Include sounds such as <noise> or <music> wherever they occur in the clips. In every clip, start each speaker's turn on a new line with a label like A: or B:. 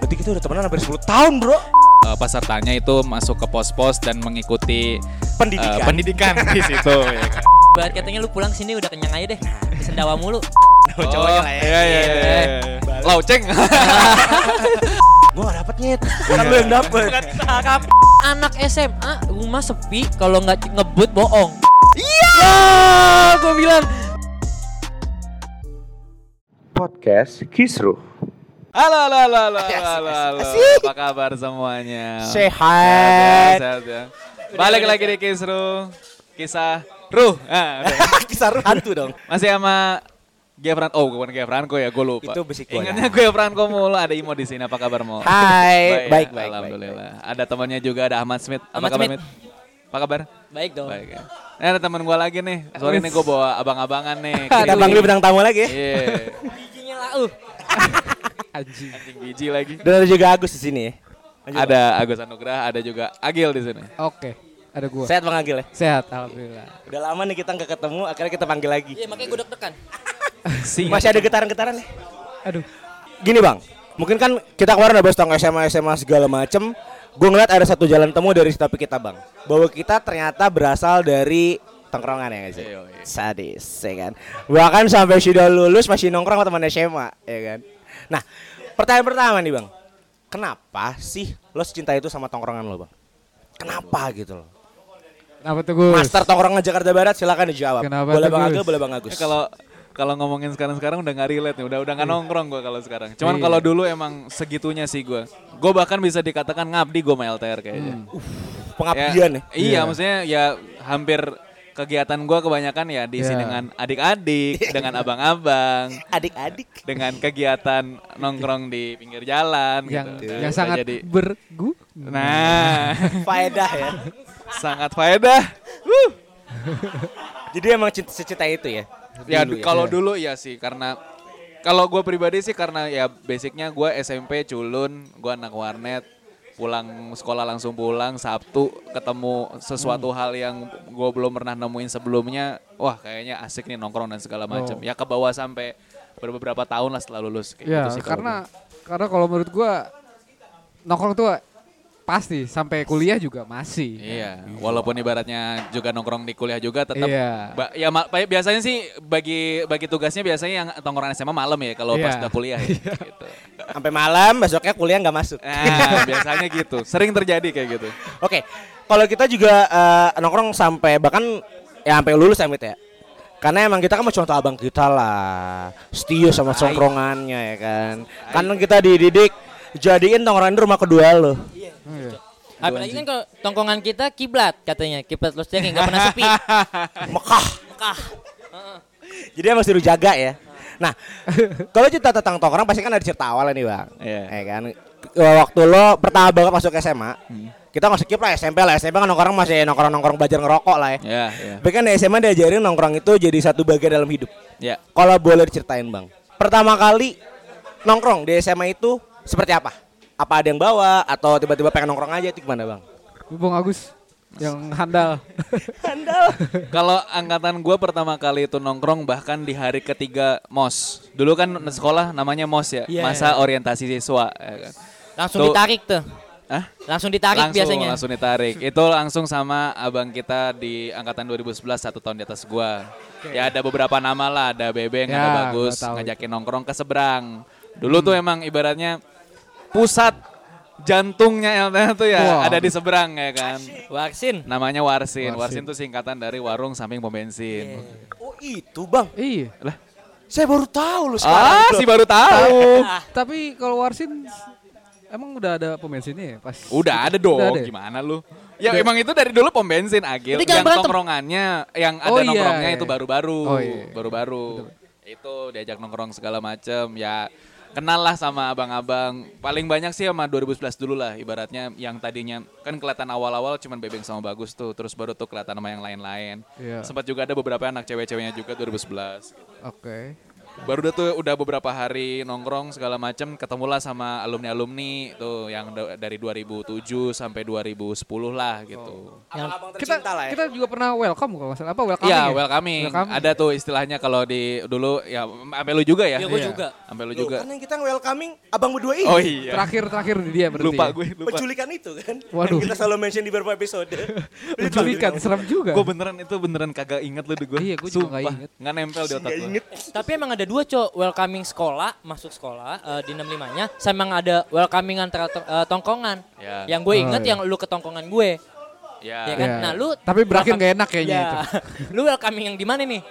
A: berarti kita udah temenan hampir 10 tahun bro
B: Eh, pesertanya itu masuk ke pos-pos dan mengikuti eh,
A: Pendidikan.
B: pendidikan di situ. ya kan?
C: Buat katanya lu pulang sini udah kenyang aja deh. Nah, Sendawa mulu.
A: Oh, cowoknya lah ya
B: Iya iya iya, iya.
A: Balik.
B: Lau ceng.
A: Gue gak dapet nyet
B: Iya.
A: Kan lu yang dapet
C: Anak SMA rumah sepi kalau nggak ngebut bohong.
B: Ah, gua bilang.
D: podcast Kisruh.
B: Halo halo halo halo
A: Asik,
B: halo. halo.
A: asik.
B: Apa kabar semuanya? Sehat,
D: Sehat.
B: sehat, ya. Balik lagi di Kisru. Kisah Ruh. Ah, udah.
A: <laughs> Kisah hantu dong
B: Masih sama Gefran, oh bukan Gefranco ya, gue lupa.
A: Itu bisik gua.
B: Ingatnya gue Franco mulu, ada Imo di sini, apa kabar Mo? ya?
D: Hai, baik baik.
B: Alhamdulillah. Ada temannya juga, ada Ahmad Smith. Apa
C: Ahmad
B: kabar
C: Smith.
B: Smith? Apa kabar?
C: Baik dong.
B: Baik ya. Ini ada teman gue lagi nih, sore ini gue bawa abang-abangan
E: <laughs>
B: nih.
A: Kita
B: Kiri.
A: panggil bintang tamu lagi ya
B: Iya,
C: Bijinya uh. lau.
B: anjing. Anjing biji lagi.
A: Dan ada juga Agus di sini ya
B: Ada Agus Anugrah, ada juga Agil di sini.
E: Oke, ada gua.
A: Sehat Bang Agil ya
E: Sehat, alhamdulillah.
A: Udah lama nih kita gak ketemu Akhirnya kita panggil lagi
C: Iya makanya gue deg-degan.
B: Si.
A: Masih ada getaran-getaran nih
E: Aduh,
A: Gini bang Mungkin kan kita kemarin udah bahas tentang SMA-SMA segala macem Gue ngeliat ada satu jalan temu dari topik kita bang Bahwa kita ternyata berasal dari tongkrongan ya nggak sih?
B: Iya, iya.
A: Sadis ya kan Bahkan sampai sudah lulus masih nongkrong sama teman SMA ya kan Nah pertanyaan pertama nih bang Kenapa sih lo secinta itu sama tongkrongan lo bang? Kenapa gitu loh?
E: kenapa tuh Gus?
A: Master tongkrongan Jakarta Barat silakan dijawab.
E: Kenapa
A: boleh
E: tuh,
A: Bang
E: Gus?
A: Agil, boleh Bang Agus.
B: Ya, kalau kalau ngomongin sekarang-sekarang udah nggak relate nih, udah udah nggak nongkrong gue kalau sekarang. Cuman
E: Iya.
B: kalau dulu emang segitunya sih gue. Gue bahkan bisa dikatakan ngabdi gue sama LTR kayaknya.
E: Hmm.
A: pengabdian ya.
B: Iya, maksudnya ya hampir kegiatan gue kebanyakan ya diisi
E: Iya.
B: dengan adik-adik, dengan abang-abang,
A: Adik-adik.
B: dengan kegiatan nongkrong di pinggir jalan
E: yang
B: gitu. Dan
E: yang
B: udah
E: sangat <laughs>
B: jadi-
E: bergu.
B: Nah, <laughs>
A: Faedah ya.
B: sangat faedah. Wuh.
A: Jadi emang cinta secita itu ya. Dulu
B: Ya
E: iya.
B: du- kalau dulu ya sih karena kalau gue pribadi sih karena ya basicnya gue SMP culun, gue anak warnet, pulang sekolah langsung pulang Sabtu ketemu sesuatu
E: Hmm.
B: hal yang gue belum pernah nemuin sebelumnya, wah kayaknya asik nih nongkrong dan segala macam.
E: Oh.
B: Ya ke bawah sampai ber- beberapa tahun lah setelah lulus. Kayak
E: Ya,
B: gitu sih kalau
E: karena karena kalau menurut gua nongkrong tuh pasti sampai kuliah juga
B: gua.
E: masih.
B: Iya, walaupun ibaratnya juga nongkrong di kuliah juga tetap
E: Iya.
B: Ba- ya ma- pa- biasanya sih bagi bagi tugasnya biasanya yang tongkrongan SMA malam ya kalau pas
E: Iya.
B: udah kuliah ya, gitu.
A: Sampai malam besoknya kuliah nggak masuk.
B: Nah, <laughs> biasanya gitu. Sering terjadi kayak gitu.
A: <laughs> Oke. Kalau kita juga eh, nongkrong sampai bahkan ya sampai lulus ya Mit ya. Karena emang kita kan mau contoh abang kita lah. Setia sama songkrongannya ya kan. Karena kita dididik jadiin tongkrongan di rumah kedua lo.
E: Oh, iya.
C: Apalagi kan kalau tongkongan kita kiblat katanya. Kiblat Los Jack nggak pernah
B: <laughs>
C: sepi.
A: Mekah. Jadi emang suruh jaga ya. Nah, kalau cerita tentang tongkrong pasti kan ada cerita awal nih bang.
B: Iya.
A: Ya kan. Waktu lo pertama banget masuk SMA, kita nggak skip lah SMP lah. SMP kan nongkrong masih nongkrong nongkrong belajar ngerokok lah ya.
B: Ya, ya.
A: Bahkan di SMA diajarin nongkrong itu jadi satu bagian dalam hidup.
B: Ya.
A: Kalau boleh diceritain bang, pertama kali nongkrong di SMA itu seperti apa? Apa ada yang bawa atau tiba-tiba pengen nongkrong aja itu gimana bang?
E: Bung Agus yang
B: <laughs>
E: handal.
B: Kalau angkatan gua pertama kali itu nongkrong bahkan di hari ketiga MOS. Dulu kan sekolah namanya MOS ya,
E: Iya,
B: masa orientasi siswa ya kan.
C: Langsung
B: Tuh.
C: ditarik tuh.
B: Hah?
C: Langsung ditarik
B: langsung,
C: biasanya.
B: Langsung
E: <laughs>
B: ditarik. Itu langsung sama abang kita di angkatan 2011 satu tahun di atas gua. Ya ada beberapa nama lah, ada Bebeng,
E: Ya,
B: ada
E: gua
B: Bagus
E: tahu Hmm.
B: ngajakin nongkrong ke seberang. Dulu tuh emang ibaratnya pusat jantungnya LTH tuh ya
E: Wah.
B: ada di seberang ya kan.
C: Vaksin.
B: Namanya Warsin. Warsin
E: Warsin.
B: tuh singkatan dari warung samping pom bensin.
A: Oh itu bang,
E: iya.
A: saya baru tahu lo
B: Ah,
A: sekarang.
B: si baru tahu. <laughs>
E: Tapi kalau Warsin emang udah ada pemainnya ya pas.
B: Udah ada dong,
E: Udah ada ya?
B: gimana lu? Ya emang itu dari dulu pom bensin Agil,
C: Itu
B: yang
C: jangan berantem.
B: tongkrongannya, yang ada
E: Oh, iya,
B: nongkrongnya
E: iya.
B: itu baru-baru,
E: Oh, iya.
B: baru-baru. Itu diajak nongkrong segala macem, ya kenal lah sama abang-abang. Paling banyak sih sama 2011 dulu lah, ibaratnya yang tadinya kan kelihatan awal-awal cuman Bebeng sama Bagus tuh, terus baru tuh kelihatan sama yang lain-lain.
E: Iya.
B: Sempat juga ada beberapa anak cewek-ceweknya juga 2011.
E: Oke.
B: baru udah tuh udah beberapa hari nongkrong segala macam ketemulah sama alumni alumni tuh yang da- dari 2007 sampai 2010 lah gitu
A: Abang-abang
E: Kita
A: tercinta lah ya.
E: kita juga pernah welcome kalau nggak salah apa ya? welcome.
B: Iya, welcoming. Ada tuh istilahnya kalau di dulu ya sampai lu juga ya.
C: Iya, gua juga.
B: Sampai lu
A: Loh,
B: juga.
A: kan yang kita welcoming abang berdua ini.
B: Oh iya.
E: terakhir terakhir dia berarti.
B: lupa
E: ya.
B: gue, lupa.
A: Penculikan itu
B: <laughs>
A: kan.
E: Waduh.
A: Yang kita selalu mention di beberapa episode.
E: Penculikan serem juga.
B: Gue beneran itu beneran kagak inget lu di gue.
E: Iya, gua juga nggak
B: Sumpah,
E: inget.
B: nggak nempel di otak
A: Gak
B: gue.
A: inget.
C: Tapi emang ada dua cok welcoming sekolah masuk sekolah eh, di 65-nya sama yang ada welcoming antara to- eh, tongkongan.
B: Ya.
C: Yang gue
E: Oh,
C: inget
E: iya.
C: yang lu ke tongkongan gue.
B: Ya.
C: Ya kan?
E: Iya.
C: Nah, lu
E: Tapi berakhir
C: welcome-
E: nggak enak kayaknya
C: Ya.
E: itu.
C: <laughs> lu welcoming yang di mana nih?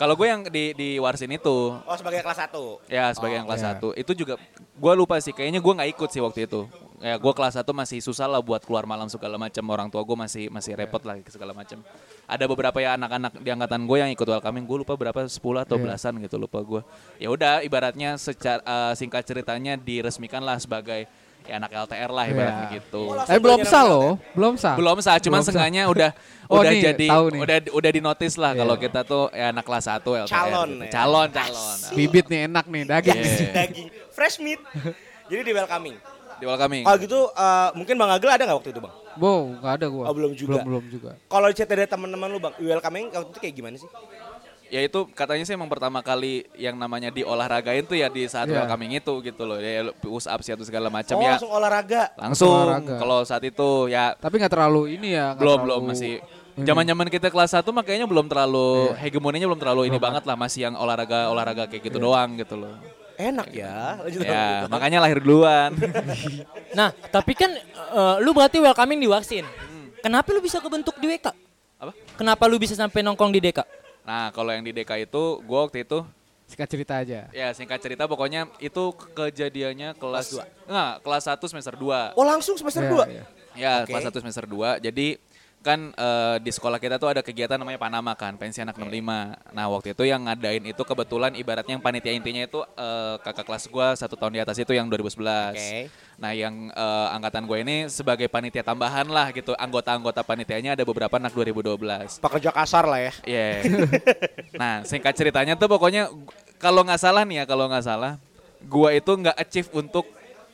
B: Kalau gue yang di di Warsin itu
A: Oh sebagai kelas 1.
B: ya sebagai yang kelas
E: iya.
B: satu itu juga gue lupa sih kayaknya gue nggak ikut sih waktu itu. Ya gue kelas satu masih susah lah buat keluar malam segala macam orang tua gue masih masih repot lah segala macam. Ada beberapa ya anak-anak di angkatan gue yang ikut welcoming gue lupa berapa 10 atau
E: Iya.
B: belasan gitu lupa gue. Ya udah ibaratnya secara eh, singkat ceritanya diresmikan lah sebagai ya anak LTR lah ibaratnya
E: Iya.
B: gitu.
E: Eh belum sah loh, belum sah.
B: belum sah cuman
E: Belum sah.
B: sengaja udah
E: Oh,
B: udah
E: nih,
B: jadi
E: tahu nih. Iya.
B: udah udah dinotis lah kalau kita tuh ya anak kelas 1 LTR
A: Calon
B: gitu.
A: ya.
B: calon calon
E: Bibit nih enak nih daging.
B: Iya.
A: <laughs> Daging. Fresh meat. <laughs> Jadi di welcoming.
B: di welcoming
E: Oh,
A: Kalau gitu eh, mungkin Bang Agel ada nggak waktu itu Bang?
E: Wow, nggak ada gua.
A: Oh, belum juga.
E: Belum belum juga.
A: Kalau di chat dari teman-teman lu Bang, welcoming waktu itu kayak gimana sih?
B: ya itu katanya sih emang pertama kali yang namanya diolahragain tuh ya di saat
E: Iya.
B: welcoming itu gitu loh ya push up sih atau segala macam
A: Oh
B: ya
A: langsung olahraga.
B: langsung
E: Olahraga.
B: kalau saat itu ya
E: Tapi nggak terlalu ini ya. nggak
B: belum
E: terlalu-
B: belum masih
E: ini.
B: zaman-zaman kita kelas 1 makanya belum terlalu
E: Iya.
B: hegemoninya belum terlalu ini banget lah masih yang olahraga olahraga kayak gitu doang gitu loh
A: Enak ya. Lanjut
B: ya
A: Bang.
B: makanya lahir duluan
C: Nah, tapi kan eh, lu berarti welcoming di Warsin. Kenapa lu bisa kebentuk di WK?
B: apa
C: Kenapa lu bisa sampai nongkrong di DK?
B: nah kalau yang di DK itu gue waktu itu
E: Singkat cerita aja.
B: Ya singkat cerita pokoknya itu kejadiannya kelas
A: Kelas
B: Nggak, kelas 1 semester 2.
A: Oh langsung semester
E: Iya,
A: 2.
E: iya.
B: Ya,
A: Oke.
B: kelas 1 semester 2. Jadi kan eh, di sekolah kita tuh ada kegiatan namanya Panama kan, pensi anak 65. Nah, waktu itu yang ngadain itu kebetulan ibaratnya yang panitia intinya itu eh, kakak kelas gua satu tahun di atas itu yang 2011.
A: Oke.
B: Nah, yang eh, angkatan gue ini sebagai panitia tambahan lah gitu. Anggota-anggota panitianya ada beberapa anak 2012.
A: Pekerja kasar lah ya.
B: Iya. nah, singkat ceritanya tuh pokoknya gu- kalau nggak salah nih ya, kalau nggak salah, gua itu nggak achieve untuk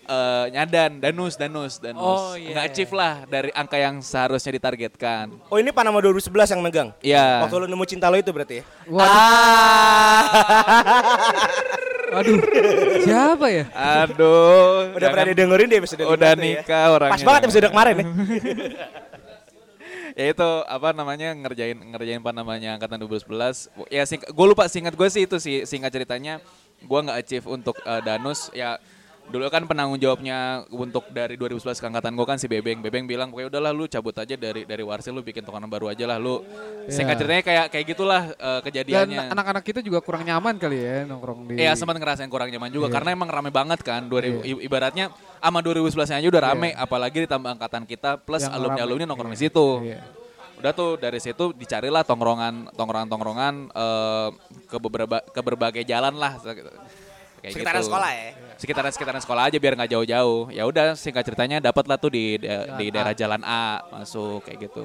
B: eh, nyadan, danus, danus, danus.
C: Oh, iya.
B: Nggak achieve lah dari angka yang seharusnya ditargetkan.
A: Oh ini Panama 2011 yang megang?
B: Iya.
A: Waktu lu nemu cinta lo itu berarti ya?
E: Waduh,
B: Ah.
E: waduh. <laughs> siapa ya?
A: Udah
B: Aduh.
A: pernah
B: jangan-
A: didengerin di episode
B: kan? Udah
A: lima tuh ya.
B: nikah orangnya.
A: Pas banget episode kemarin
B: <laughs>
A: ya.
B: ya itu apa namanya ngerjain ngerjain apa namanya angkatan 2011 ya sing gue lupa singkat gue sih itu sih singkat ceritanya gue nggak achieve untuk eh, danus ya dulu kan penanggung jawabnya untuk dari 2011 ke angkatan gue kan si Bebeng Bebeng bilang pokoknya udahlah lu cabut aja dari dari Warsi lu bikin tokonan baru aja lah lu singkat
E: Iya.
B: ceritanya kayak kayak gitulah eh,
E: Dan
B: kejadiannya
E: anak-anak kita juga kurang nyaman kali ya nongkrong di.
B: Iya
E: Iya.
B: sempat ngerasain kurang nyaman juga karena emang rame banget kan 2000 i- ibaratnya sama 2011 aja udah rame apalagi ditambah angkatan kita plus
E: Iya. Yang
B: alumni
E: rame.
B: alumni nongkrong di
E: Iya.
B: situ.
E: Iya.
B: Udah tuh dari situ dicarilah tongkrongan tongkrongan tongkrongan ke beberapa ke berbagai jalan lah kayak gitu.
A: Sekitaran sekolah ya?
B: Sekitaran sekitaran sekolah aja biar nggak jauh-jauh. Ya udah singkat ceritanya dapatlah tuh di da- di daerah Jalan A masuk kayak gitu.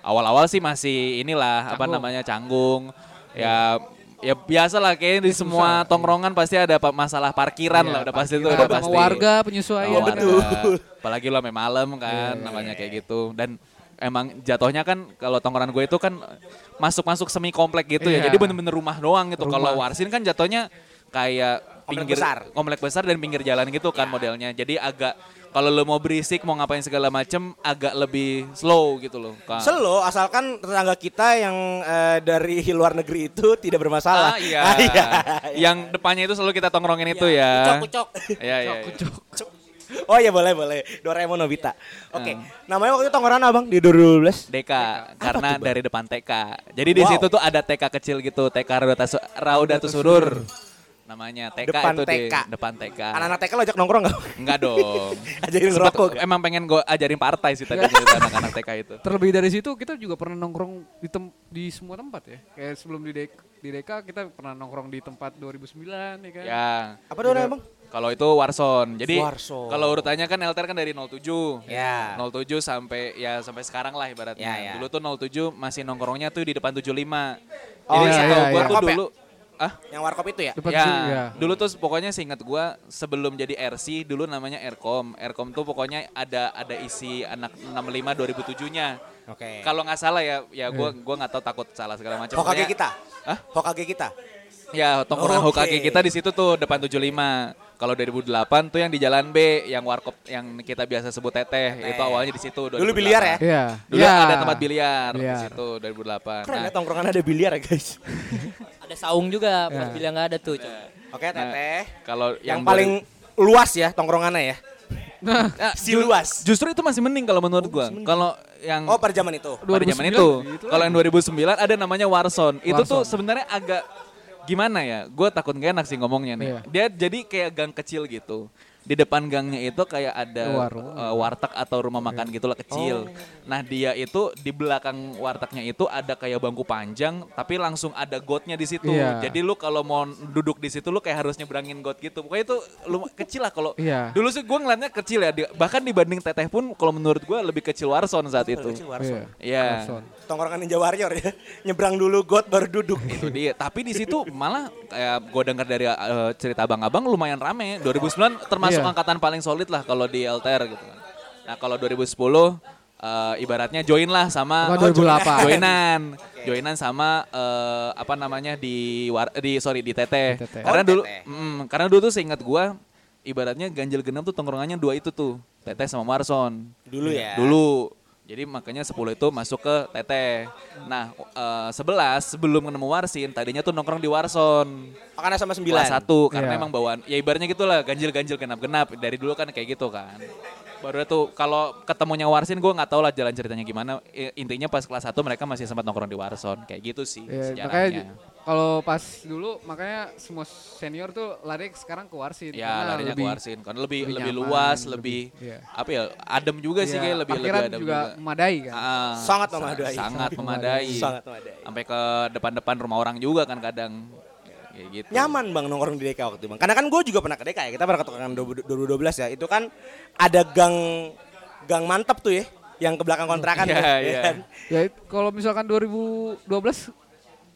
B: Awal-awal sih masih inilah apa
E: Canggung.
B: namanya canggung. Ya ya biasa lah kayaknya di semua tongkrongan pasti ada pa- masalah Iya, parkiran lah udah pasti itu
E: Nah,
B: udah
E: sama
B: pasti. Iya,
E: warga penyesuaian.
B: Sama warga.
E: ya? betul.
B: Nah,
E: Iya,
B: Apalagi lu sampai malam kan namanya kayak gitu dan emang jatuhnya kan kalau tongkrongan gue itu kan masuk-masuk semi komplek gitu ya.
E: Iya.
B: Jadi bener-bener rumah doang gitu. Kalau
E: Rumah.
B: Warsin kan jatuhnya kayak
A: Komplek
B: pinggir
A: besar.
B: komplek besar dan pinggir jalan gitu
E: Iya.
B: kan modelnya. Jadi agak kalau lu mau berisik mau ngapain segala macem agak lebih slow gitu loh. Kan.
A: Selo asalkan tetangga kita yang eh, dari luar negeri itu <laughs> tidak bermasalah.
B: Ah, iya.
A: Ah, iya. <laughs>
B: Yang depannya itu selalu kita tongkrongin itu ya.
C: Kucok, kucok.
B: Iya, iya. iya.
A: Oh iya boleh boleh. Doraemon Nobita. Oke.
B: Ah.
A: Namanya waktu itu tongkrongan abang di 2012.
B: DK karena dari depan TK. Jadi di
A: Wow.
B: situ tuh ada TK kecil gitu, TK Raudatus Raudatus Surur. Namanya TK
A: Depan
B: itu di
A: TK.
B: depan TK.
A: Anak-anak TK lo ajak nongkrong
B: <laughs>
A: nggak? <laughs>
B: Enggak dong.
A: Ajarin
B: Sempet-
A: ngerokok.
B: Emang pengen gue ajarin partai sih tadi cerita anak-anak TK
A: <laughs>
B: itu.
E: Terlebih dari situ kita juga pernah nongkrong di tem- di semua tempat ya. Kayak sebelum di dek di Deka kita pernah nongkrong di tempat 2009 ya kan.
B: Ya.
A: Apa Doraemon?
B: Kalau itu Warson. Jadi
A: Warson.
B: kalau urutannya kan LTR kan dari 07.
A: Ya.
B: 07 sampai ya sampai sekarang lah ibaratnya.
A: Ya, ya.
B: Dulu tuh 07 masih nongkrongnya tuh di depan 75.
A: Oh,
B: Jadi
A: iya, iya,
B: setahu gua
A: iya.
B: tuh
A: Warkop ya?
B: dulu ah
A: Yang warkop itu ya?
E: Depan
B: ya,
E: sini, ya.
B: dulu tuh pokoknya seingat gua sebelum jadi RC dulu namanya Aircom. Aircom tuh pokoknya ada ada isi anak 65 2007-nya.
A: Oke.
B: Kalau nggak salah ya, ya gua
E: Iya.
B: gua nggak tahu takut salah segala macam.
A: Hokage
B: Pokoknya-
A: kita.
B: Hah?
A: Hokage kita.
B: Ya, tongkrongan
A: Oke.
B: Hokage kita di situ tuh depan 75. Kalau 2008 tuh yang di Jalan B, yang warkop yang kita biasa sebut teteh, itu awalnya di situ.
A: Dulu biliar ya?
E: Iya.
B: Dulu
E: Iya.
B: ada tempat biliar,
E: Biliar.
B: di situ 2008.
A: Keren ya
B: Nah,
A: tongkrongan ada biliar ya guys.
C: Ada saung juga pas
E: Ya.
C: bilang nggak ada tuh. coba.
A: <laughs> Oke teteh.
B: kalau
A: Yang
B: Nah, yang,
A: paling luas ya tongkrongannya ya.
B: Nah,
A: Si luas.
B: Justru itu Oh, masih mending kalau menurut gua. Kalau yang
A: Oh pada zaman itu.
B: pada zaman
E: 2009,
B: itu,
E: gitu
B: kalau yang 2009 ada namanya Warzone. Itu tuh
E: Warzone.
B: sebenarnya agak gimana ya? Gue takut gak enak sih ngomongnya nih.
E: Iya.
B: Dia jadi kayak gang kecil gitu. Di depan gangnya itu kayak ada
E: Warung. Iya. Oh.
B: eh, warteg atau rumah makan gitulah kecil. Nah dia itu di belakang wartegnya itu ada kayak bangku panjang, tapi langsung ada gotnya di situ.
E: Iya.
B: Jadi lu kalau mau duduk di situ lu kayak harus nyebrangin got gitu. Pokoknya itu lu kecil lah kalau
E: Iya.
B: dulu sih gue ngeliatnya kecil ya. Di- Bahkan dibanding teteh pun kalau menurut gue lebih kecil Warzone saat itu.
A: Kecil Warso.
E: Iya.
B: Iya.
E: Warzone.
A: Tongkrongan Ninja Warrior ya. Nyebrang dulu got baru duduk.
B: <laughs> itu dia tapi di situ malah kayak gue dengar dari eh, cerita abang-abang lumayan rame 2009 termasuk
E: Iya.
B: angkatan paling solid lah kalau di LTR gitu kan nah kalau 2010 eh, ibaratnya join lah sama
E: Bukan 2008.
B: joinan joinan sama eh, apa namanya di war- di sorry di TT
E: Di TT.
B: karena
A: Oh,
B: dulu
A: TT.
B: mm, karena dulu tuh seingat gue ibaratnya ganjil genap tuh tongkrongannya dua itu tuh TT sama Marson
A: Dulu ya.
B: Iya, dulu. Jadi makanya 10 itu masuk ke Teteh. Nah, eh, 11 sebelum ketemu Warsin, tadinya tuh nongkrong di Warson.
A: Makan sama sembilan.
B: Kelas 1 karena
E: Iya.
B: emang bawaan ya ibaratnya gitulah ganjil-ganjil genap-genap dari dulu kan kayak gitu kan. Baru tuh kalau ketemunya Warsin gue nggak tahu lah jalan ceritanya gimana. I- Intinya pas kelas 1 mereka masih sempat nongkrong di Warson kayak gitu sih
E: Iya, makanya
B: sejarahnya.
E: kalau pas dulu makanya semua senior tuh lari sekarang ke Warsin.
B: Ya
E: karena
B: larinya ke
E: lebih-
B: Warsin kan lebih
E: lebih
B: lebih
E: nyaman,
B: luas, lebih,
E: lebih- iya.
B: apa ya adem juga sih
E: Iya,
B: kayak lebih lebih
E: parkiran
B: adem
E: juga memadai kan.
B: Ah,
A: Sangat
B: sa-
A: memadai.
B: Sangat memadai.
A: Sangat memadai.
B: Sampai ke depan-depan rumah orang juga kan kadang. Kayak gitu.
A: Nyaman bang nongkrong di DK waktu itu bang. Karena kan gue juga pernah ke DK ya. Kita pernah ke tongkrongan 2012 ya. Itu kan ada gang gang mantap tuh ya. Yang ke belakang kontrakan.
B: Iya,
A: tuh,
B: iya.
A: kan?
E: Ya it- kalau misalkan 2012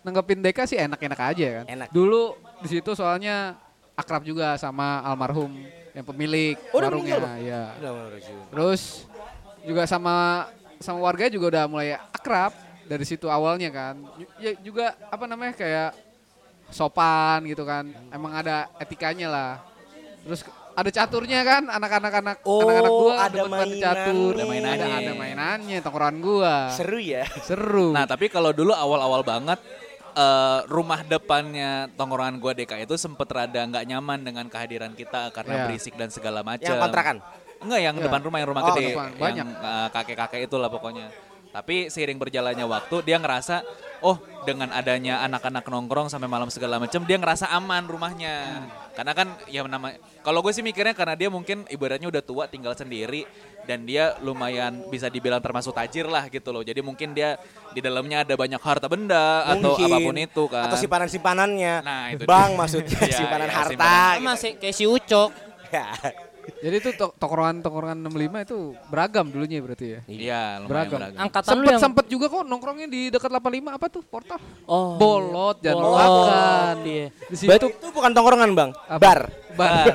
E: nanggepin DK sih enak-enak aja kan.
A: Enak.
E: Dulu di situ soalnya akrab juga sama almarhum yang pemilik
A: Oh, udah
E: warungnya
A: meninggal, Bang?
E: ya.
A: Udah, udah, udah.
E: Terus juga sama sama warga juga udah mulai akrab dari situ awalnya kan. Ju- Ya juga apa namanya kayak sopan gitu kan. Emang ada etikanya lah. Terus ada caturnya kan anak-anak anak
A: Oh,
E: anak-anak gua
A: ada
E: demen banget
A: mainannya.
E: catur.
A: Ada
E: Ada,
B: mainannya.
E: ada mainannya tongkrongan gua.
A: Seru ya.
E: Seru.
B: Nah tapi kalau dulu awal-awal banget eh, rumah depannya tongkrongan gua DK itu sempet rada nggak nyaman dengan kehadiran kita karena
E: Iya.
B: berisik dan segala macam.
A: Ya. Yang kontrakan?
B: Enggak, yang
E: Iya.
B: depan rumah yang rumah
E: Oh,
B: gede,
E: depan.
B: yang
E: Banyak.
B: eh, kakek-kakek itulah pokoknya. Tapi seiring berjalannya waktu dia ngerasa, oh dengan adanya anak-anak nongkrong sampai malam segala macam, dia ngerasa aman rumahnya. Karena kan ya nama, kalau gue sih mikirnya karena dia mungkin ibaratnya udah tua tinggal sendiri dan dia lumayan bisa dibilang termasuk tajir lah gitu loh. Jadi mungkin dia di dalamnya ada banyak harta benda atau
A: Mungkin.
B: apapun itu kan.
A: Atau simpanan-simpanannya.
B: Nah, itu
A: Bang
B: dia.
A: maksudnya
B: Iya,
A: simpanan
B: iya,
A: harta.
B: simpanan.
A: gitu.
C: Sama sih kayak si Ucok.
A: Ya.
E: Jadi itu to- tongkrongan-tongkrongan 65 itu beragam dulunya berarti ya.
B: Iya, lumayan
E: Beragam.
B: beragam.
C: Angkatan lu
E: Sempet
C: yang
E: sempet juga kok nongkrongnya di dekat 85 apa tuh portal?
C: Oh,
E: bolot dan
C: bolot,
E: makan.
C: iya.
E: Di situ
A: Itu, itu bukan tongkrongan bang.
E: Apa?
A: Bar.
E: bar. <laughs>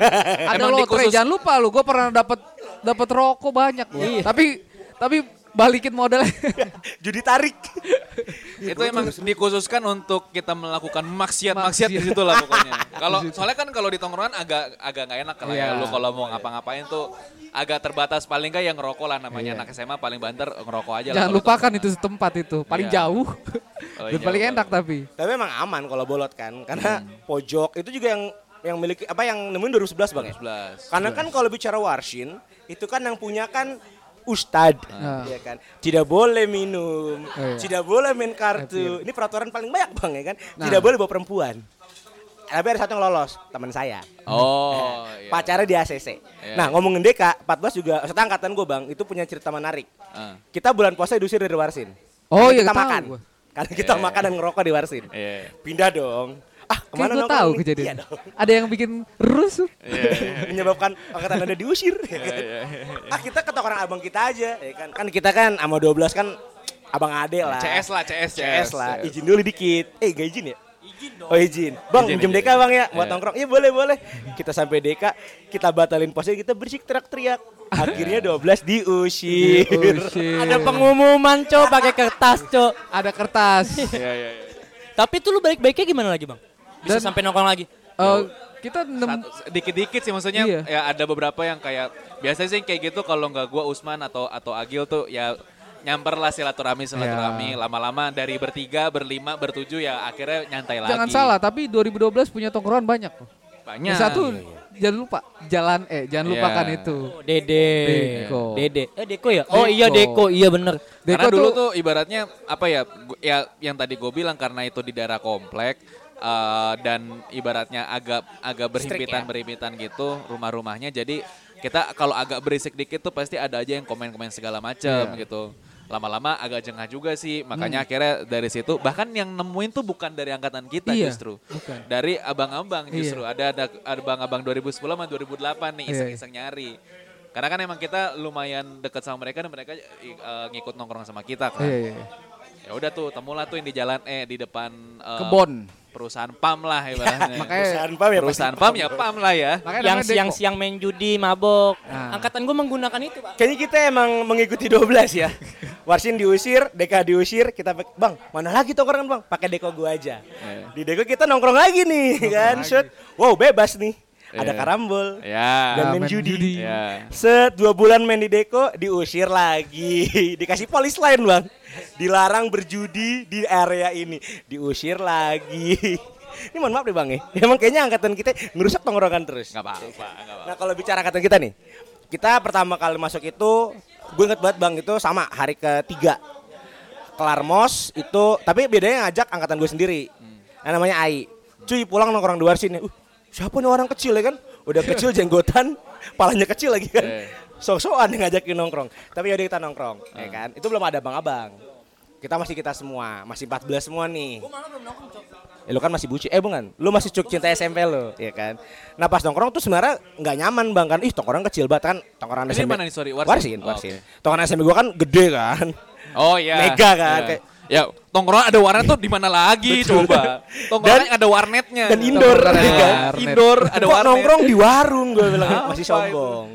E: Ada
B: Emang
E: lotre
B: dikhusus-
E: jangan lupa lu. Gue pernah dapat dapat rokok banyak gua. Tapi tapi balikin modalnya.
A: Judi tarik.
E: Iya,
B: itu emang dikhususkan untuk kita melakukan maksiat-maksiat di situ lah
E: <laughs>
B: pokoknya. Kalau soalnya kan kalau di tongkrongan agak agak nggak enak lah ya.
E: Iya.
B: Lu kalau mau ngapa-ngapain tuh agak terbatas paling nggak yang ngerokok lah namanya anak SMA paling banter ngerokok aja lah.
E: Iya. jangan
B: kalau
E: lupakan
B: di
E: itu tempat itu. Paling
B: Iya.
E: jauh.
B: Paling
E: <laughs> Dan paling
B: jauh,
E: enak
B: paling
E: tapi.
A: Tapi emang aman kalau bolot kan. Karena
E: Hmm.
A: pojok itu juga yang yang miliki apa yang nemuin 2011 bang ya?
B: tongkrongan. 11.
A: Karena kan kalau bicara warshin, itu kan yang punya kan ustad,
E: Ah.
A: ya kan. Tidak boleh minum,
E: iya.
A: tidak boleh main kartu. Ini peraturan paling banyak bang ya kan.
E: Nah.
A: Tidak boleh bawa perempuan. Tapi ada satu yang lolos, teman saya.
B: Oh, iya.
A: Pacarnya di ACC.
B: Iya.
A: Nah ngomongin DK, 14 juga, serta angkatan gue bang, itu punya cerita menarik.
B: Ah,
A: Kita bulan puasa diusir dari Warsin.
E: Oh,
A: Karena
E: iya,
A: Kita
E: tahu
A: makan.
E: gua.
A: Karena kita
B: Iya.
A: makan dan ngerokok di Warsin.
B: Iya.
A: Pindah dong. Ah,
E: Kayak
A: kemana
E: gue
A: nongkrong
E: tahu
A: nih? Iya
E: kejadian.
A: dong.
E: Ada yang bikin rusuh.
B: Iya,
A: <laughs> menyebabkan angkatan anda diusir ya kan? ah kita ke orang abang kita aja ya kan kan kita kan sama 12 kan abang ade lah
B: CS lah, CS,
A: CS lah izin dulu dikit eh gak izin ya Oh izin. Bang,
B: Izin,
A: minjem
B: izin.
A: deka bang ya, buat
B: Iya.
A: nongkrong. Iya boleh boleh. Kita sampai deka, kita batalin posnya, kita berisik teriak-teriak. Akhirnya 12 diusir.
E: Oh, Diusir.
C: Ada pengumuman cok pakai kertas cok.
E: Ada kertas. Eh,
B: Iya, iya, iya.
C: Tapi tuh lu balik-baliknya gimana lagi bang? Bisa
E: Dan-
C: sampai nongkrong lagi?
E: Eh, kita nem-
B: Satu- Dikit-dikit sih maksudnya
E: Iya.
B: ya ada beberapa yang kayak biasanya sih kayak gitu kalau nggak gua Usman atau atau Agil tuh ya nyamper lah silaturahmi silaturahmi
E: Iya.
B: lama-lama dari bertiga berlima bertujuh ya akhirnya nyantai lagi.
E: jangan salah, tapi 2012 punya tongkrongan banyak. loh.
B: Banyak.
E: Yang Satu jangan lupa jalan eh jangan
B: Iya.
E: lupakan itu.
C: Oh, Dede.
E: Deko.
C: Dede. Eh Deko ya? Oh iya
E: Deko.
C: Deko, iya bener.
E: Deko
B: karena dulu
E: tuh,
B: tuh ibaratnya apa ya gu- ya yang tadi gue bilang karena itu di daerah komplek eh, dan ibaratnya agak agak
E: ya.
B: berhimpitan berhimpitan gitu rumah-rumahnya jadi kita kalau agak berisik dikit tuh pasti ada aja yang komen-komen segala macam
E: Iya.
B: gitu lama-lama agak jengah juga sih
E: Hmm.
B: makanya akhirnya dari situ bahkan yang nemuin tuh bukan dari angkatan kita
E: Iya,
B: justru
E: bukan.
B: dari abang-abang
E: Iya.
B: justru ada ada ada abang-abang 2010 sama 2008 nih
E: Iya.
B: iseng-iseng nyari karena kan emang kita lumayan dekat sama mereka dan mereka eh, ngikut nongkrong sama kita kan.
E: iya, iya, iya.
B: Ya udah tuh temulah tuh yang di jalan eh di depan eh,
E: kebon.
B: perusahaan PAM lah
A: <laughs>
B: ibaratnya.
E: Makanya
A: Perusahaan pam ya
B: perusahaan
A: pasti.
B: PAM ya PAM lah ya.
E: makanya
C: Yang
E: namanya Deko.
C: siang-siang main judi, mabok.
E: Ah.
C: Angkatan gue menggunakan itu pak.
A: Kayaknya kita emang mengikuti 12 ya. Warsin diusir, Deka diusir, kita pake- Bang, mana lagi tongkrongan Bang? Pakai Deko gua aja. Di Deko kita nongkrong lagi nih kan, shoot. Wow, bebas nih. Ada
B: Iya.
A: karambol.
B: Ya.
A: Dan
E: Ah,
A: main
E: main
A: judi.
E: judi.
B: Ya.
A: Set dua bulan main di Deko, diusir lagi, <laughs> dikasih polis lain bang, dilarang berjudi di area ini, diusir lagi. <laughs> Ini mohon maaf deh bang ya, emang kayaknya angkatan kita ngerusak tongkrongan terus.
B: Enggak apa-apa, nggak apa-apa.
A: Nah kalau bicara angkatan kita nih, kita pertama kali masuk itu, gue inget banget bang itu sama hari ketiga, kelar mos itu, tapi bedanya ngajak angkatan gue sendiri,
B: Hmm.
A: yang namanya Ai. Cuy pulang nongkrong di luar sini, uh, siapa nih orang kecil ya kan? Udah kecil jenggotan, <laughs> palanya kecil lagi kan?
B: Eh.
A: so-soan yang ngajakin nongkrong. Tapi yaudah kita nongkrong,
B: Ah.
A: ya kan? Itu belum ada abang-abang. Kita masih kita semua, masih 14 semua nih.
C: Gue malah belum nongkrong cok.
A: Eh, lu kan masih buci, eh bukan, lu masih cuk cinta SMP lu, ya kan? Nah pas nongkrong tuh sebenarnya nggak nyaman bang kan, ih tongkrong kecil banget kan, tongkrong
B: Ini
A: SMP.
B: mana nih, sorry, Warsin?
A: Warsin,
B: Oh,
A: Warsin. Tongkrongan SMP gua kan gede kan.
B: Oh ya.
A: Mega kan,
B: Ya.
A: kayak-
B: Ya, tongkrongan ada warnet tuh di mana lagi
A: Betul.
B: coba. Tongkrongan
A: Dan-
B: ada warnetnya.
A: dan indoor,
B: Tongkrongan
A: ya
B: ada-
E: kan?
B: Indoor <laughs> ada
A: Kok
B: warnet.
A: nongkrong di warung gue
B: <laughs>
A: bilang gitu.
B: Apa
A: masih
B: itu? Iya.
A: sombong.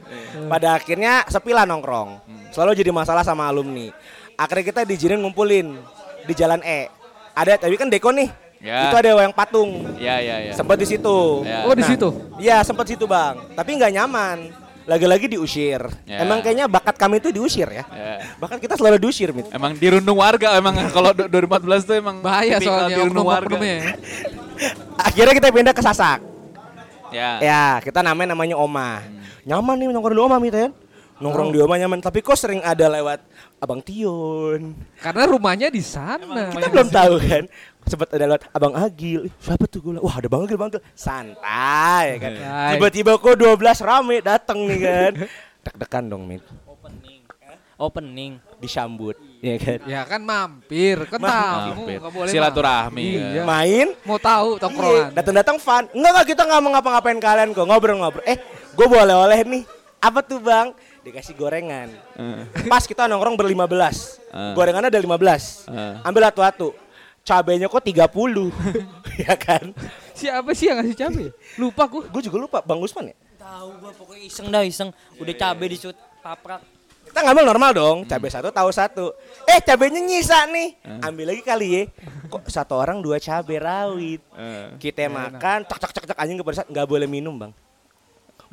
A: Pada akhirnya sepi lah nongkrong.
B: Hmm.
A: Selalu jadi masalah sama alumni. Akhirnya kita diizinin ngumpulin di Jalan E. Ada tapi kan deko nih.
B: Ya.
A: Itu ada yang patung.
B: Ya, ya, ya.
A: Sempat di situ.
B: Ya.
E: Oh, di situ?
A: Iya, sempat situ, Bang. Tapi nggak nyaman. Lagi-lagi diusir.
B: Ya.
A: Emang kayaknya bakat kami itu diusir ya.
B: Ya.
A: Bahkan kita selalu diusir, Mit.
B: <laughs> Emang dirundung warga emang <laughs> kalau du- 2014 tuh emang
E: bahaya
B: tipikal
E: soalnya ya. oknum-oknumnya.
A: Akhirnya kita pindah ke Sasak.
B: Ya.
A: Ya, kita namanya namanya Oma.
E: Hmm.
A: Nyaman nih nongkrong di Oma, Mit, ya. Nongkrong di Oma nyaman, tapi kok sering ada lewat Abang Tion.
E: Karena rumahnya di sana.
A: Kita belum tahu kan. Sempet ada lewat Abang Agil. Ih, Siapa tuh gue? bilang, Wah, ada Bang Agil, Bang Agil. Santai ya kan.
E: Santai.
A: Tiba-tiba kok 12 rame dateng nih kan.
E: <laughs>
A: Deg-degan dong, Mit.
C: Opening. Opening.
A: Disambut, ya kan.
E: Ya kan mampir, kan tamu,
B: Mampir.
E: nggak boleh
B: Silaturahmi.
E: mampir. Iya.
A: Main
E: Mau tahu tongkrongan.
A: Iya, Datang-datang fun. Enggak enggak kita nggak mau ngapa-ngapain kalian kok. Ngobrol-ngobrol. Eh, gue boleh oleh nih. Apa tuh, Bang? Dikasih gorengan. Pas kita nongkrong berlima belas.
B: Eh.
A: Gorengannya ada lima belas.
B: Eh.
A: Ambil satu-satu. Cabenya kok 30 <laughs> Ya kan
E: Siapa sih yang ngasih cabe? Lupa ku.
A: Gue juga lupa Bang Usman ya
C: Tahu gue pokoknya iseng dah iseng. Udah cabe dicut paprak.
A: Kita ngambil normal dong Cabe satu tahu satu Eh cabenya nyisa nih Ambil lagi kali ya Kok satu orang dua cabe rawit Kita makan, cak cak cak cak anjing kepedesan, nggak boleh minum bang.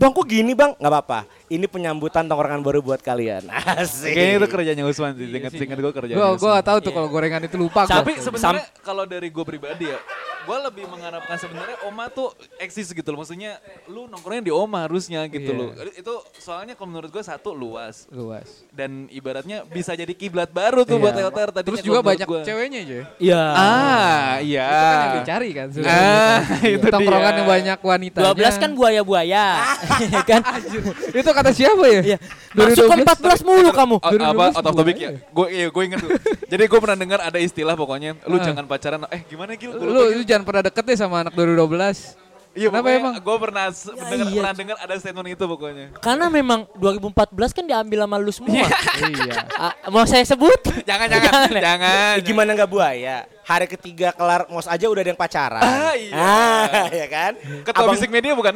A: Bang kok gini bang? Nggak apa-apa. Ini penyambutan tongkrongan baru buat kalian. Asik.
B: Kayaknya itu kerjanya Usman sih. Singkat-singkat gue
E: Gue
B: kerjanya.
E: Iya gua nggak tahu tuh kalau gorengan itu lupa gua.
B: Tapi sebenarnya kalau dari gue pribadi ya, gue lebih mengharapkan sebenarnya Oma tuh eksis gitu loh. Maksudnya lu nongkrongnya di Oma harusnya gitu
E: Iya.
B: loh. Itu soalnya kalau menurut gue satu luas
E: luas.
B: dan ibaratnya bisa jadi kiblat baru tuh
E: Iya.
B: buat LTR tadi.
E: Terus juga banyak ceweknya aja.
C: Iya.
B: Ah, iya.
E: Itu kan yang dicari kan.
B: Ah, <laughs> itu dia.
E: Tongkrongan yang banyak wanita.
C: 12 kan <laughs> buaya-buaya. kan?
E: itu kata siapa ya?
C: Iya. Masuk ke 14 mulu kamu.
B: O- apa
E: 2012
B: out of topic ya?
E: gua
B: Gue iya, gue inget tuh. Jadi gue pernah dengar ada istilah pokoknya lu
E: Ah.
B: jangan pacaran. Eh gimana Gil? Gua
E: Lu,
B: lupa,
E: lu
B: Gil.
E: jangan pernah deket deh sama anak 2012.
B: Iya,
E: kenapa
B: pokoknya
E: emang?
B: Gue pernah s- mendengar-
C: iya.
B: pernah dengar ada statement itu pokoknya.
C: Karena memang 2014 kan diambil sama lu semua.
E: iya.
C: Ah, mau saya sebut?
B: <laughs> Jangan jangan
C: ya?
B: jangan.
A: Eh, gimana nggak buaya? hari ketiga kelar mos aja udah ada yang pacaran.
B: Ah, iya.
A: Ah, <laughs> ya kan?
B: Ketua
A: abang,
B: bisik media bukan?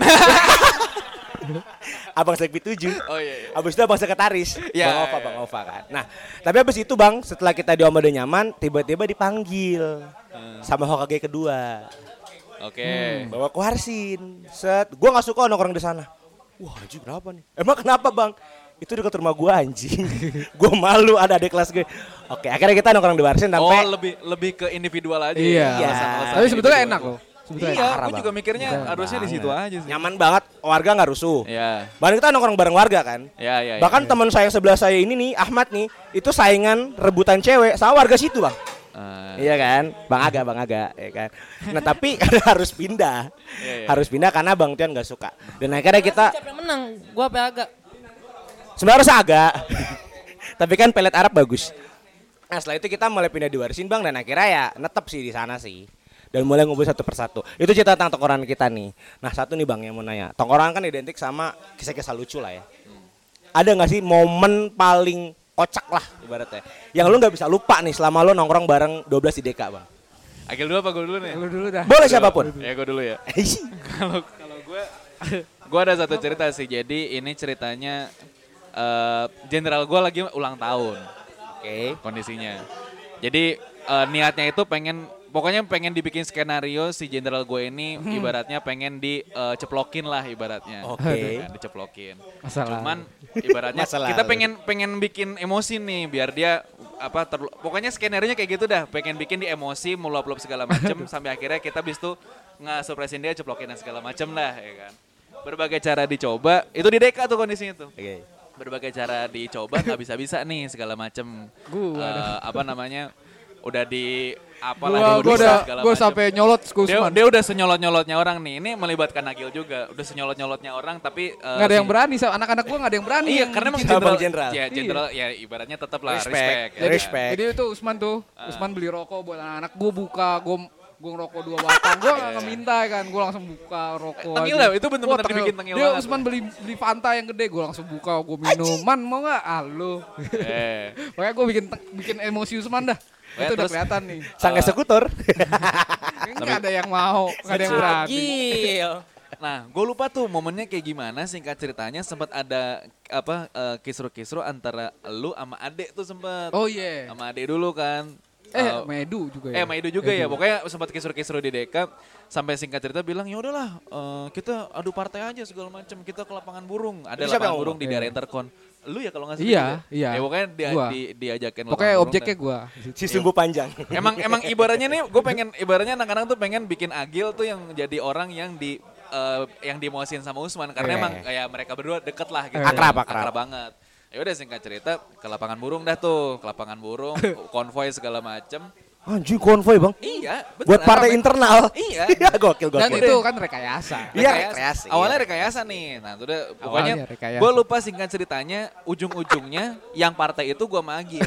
A: abang Selekbi 7.
B: oh iya. iya.
A: Abis itu abang sekretaris,
B: Ya,
A: bang Ova,
B: ya.
A: bang Ova kan. Nah, tapi abis itu bang, setelah kita di Omade nyaman, tiba-tiba dipanggil
B: Hmm.
A: sama Hokage kedua,
B: Oke.
A: bawa ke Warsin. Set, gua nggak suka nongkrong di sana. Wah, anjing kenapa nih? Emang kenapa bang? Itu dekat rumah gua
B: <laughs>
A: anjing. gua malu ada adik kelas gue. Oke, akhirnya kita nongkrong di Warsin
B: Oh
A: sampai
B: lebih lebih ke individual aja.
E: Iya.
B: ya, alasan-alasan
E: Tapi sebetulnya
B: individual
E: enak
B: itu.
E: loh. Sebetulnya
B: Iya,
A: enak.
B: gue juga mikirnya harusnya di situ aja sih.
A: nyaman banget, warga nggak rusuh.
B: Iya.
A: Bahkan kita nongkrong bareng warga kan.
B: Iya, iya.
A: Bahkan teman saya yang sebelah saya ini nih, Ahmad nih, itu saingan rebutan cewek sama warga situ bang.
B: Eh,
A: Iya kan, Bang Aga, Bang Aga, ya kan. Nah tapi <laughs> harus pindah,
B: Iya, iya.
A: harus pindah karena Bang Tian nggak suka. Dan akhirnya kita
C: Siapa yang menang? Gua apa agak?
A: sebenarnya harus Aga, <laughs> tapi kan pelet Arab bagus. Nah setelah itu kita mulai pindah di Warsin Bang dan akhirnya ya netep sih di sana sih. Dan mulai ngumpul satu persatu. Itu cerita tentang tongkrongan kita nih. Nah satu nih Bang yang mau nanya, tongkrongan kan identik sama kisah-kisah lucu lah ya. Ada nggak sih momen paling kocak lah ibaratnya? Yang lu nggak bisa lupa nih selama lu nongkrong bareng 12 di DK Bang.
B: Agil dulu apa gue dulu nih?
E: Lu dulu dah.
A: Boleh siapapun. <laughs>
B: Ya gue dulu ya.
A: Eish.
B: Kalau kalau gue <laughs> gue ada satu cerita sih. Jadi ini ceritanya eh jenderal gue lagi ulang tahun
A: Oke.
B: kondisinya. Jadi eh, niatnya itu pengen pokoknya pengen dibikin skenario si jenderal gue ini
A: Hmm.
B: ibaratnya pengen diceplokin lah ibaratnya.
A: Oke.
B: Ya, diceplokin.
E: Masalah.
B: Cuman ibaratnya
A: Masalah.
B: kita pengen pengen bikin emosi nih biar dia apa terlu- pokoknya skenerionya kayak gitu dah pengen bikin di emosi meluap-luap segala
E: <laughs>
B: macem sampai akhirnya kita bis tuh nge-surprisein dia ceplokin dan segala macem lah ya kan berbagai cara dicoba itu di deka tuh kondisinya tuh
A: Oke.
B: berbagai cara dicoba nggak bisa bisa nih segala macem Eh,
E: Gua dah.
B: apa namanya udah di
E: Gua
B: apalah
E: gua
B: diurusin
E: udah
B: segala
E: gua
B: macem.
E: sampai nyolot
B: dia,
E: Skusman.
B: dia udah senyolot-nyolotnya orang nih ini melibatkan Agil juga udah senyolot-nyolotnya orang tapi eh,
E: Nggak ada yang
B: si-
E: berani sama anak-anak gua nggak ada yang berani.
B: Iya,
E: yang
B: karena emang
E: bikin.
A: Abang
B: jenderal,
A: jenderal.
B: Ya, jenderal ya ibaratnya tetap lah
A: Respect,
B: respect. ya
A: jadi-
B: kan?
A: respect.
E: Jadi itu Usman tuh,
B: Ah.
E: Usman beli rokok buat anak-anak. Gue buka, gue gue ngerokok dua batang. Gue nggak minta ya kan, gue langsung buka rokok.
B: Iya. Tengil
E: aja.
B: dah, itu bener-bener
E: Wah,
B: dibikin tengil
E: Dia
B: banget.
E: Usman beli beli Fanta yang gede, gue langsung buka, gue minum. Man mau nggak? Ah lu.
B: <laughs> Eh,
E: Makanya gue bikin te- bikin emosi Usman dah.
B: Ya,
E: itu udah
B: terus-
E: kelihatan nih.
A: Sang <laughs> eksekutor.
E: Nggak ada yang mau, nggak ada yang berani.
C: Gil.
B: Nah, gue lupa tuh momennya kayak gimana singkat ceritanya sempat ada apa eh, kisru-kisru antara lu sama Ade tuh sempat.
E: Oh iya.
B: Sama Ade dulu kan.
E: Eh,
B: Eh,
E: Medu juga
B: Eh,
E: ya.
B: sama Edo juga ya. Pokoknya sempat kisru-kisru di Deka sampai singkat cerita bilang ya udahlah eh, kita adu partai aja segala macam. Kita ke lapangan burung. Ada
A: Itu siapa yang
B: lapangan burung di
E: ngomong?
B: daerah Intercon. Lu ya kalau nggak salah.
E: Iya,
B: gitu ya?
E: iya.
B: Ya pokoknya dia,
E: Gua.
B: di, diajakin
E: Pokoknya
B: lapangan burung
E: objeknya
B: dah.
E: gue.
A: si sumbu panjang.
B: Emang emang ibaratnya nih, gue pengen ibaratnya anak-anak tuh pengen bikin Agil tuh yang jadi orang yang di eh, yang dimosin sama Usman karena
A: Iya,
B: emang
A: iya.
B: kayak mereka berdua deket lah gitu.
A: Akrab, akrab.
B: banget. Ya udah singkat cerita ke lapangan burung dah tuh, ke lapangan
A: <laughs>
B: burung, konvoy segala macem.
A: Anjing konvoy, Bang.
B: Iya, bener.
A: Buat partai
B: Rame.
A: internal.
B: Iya.
A: <laughs> gokil gokil.
E: Dan itu kan rekayasa.
A: Iya,
B: Rekayasa.
A: rekreasi.
B: Awalnya rekayasa nih. Nah, itu udah pokoknya
E: Awalnya rekayasa.
B: gue lupa singkat ceritanya ujung-ujungnya yang partai itu gue magil.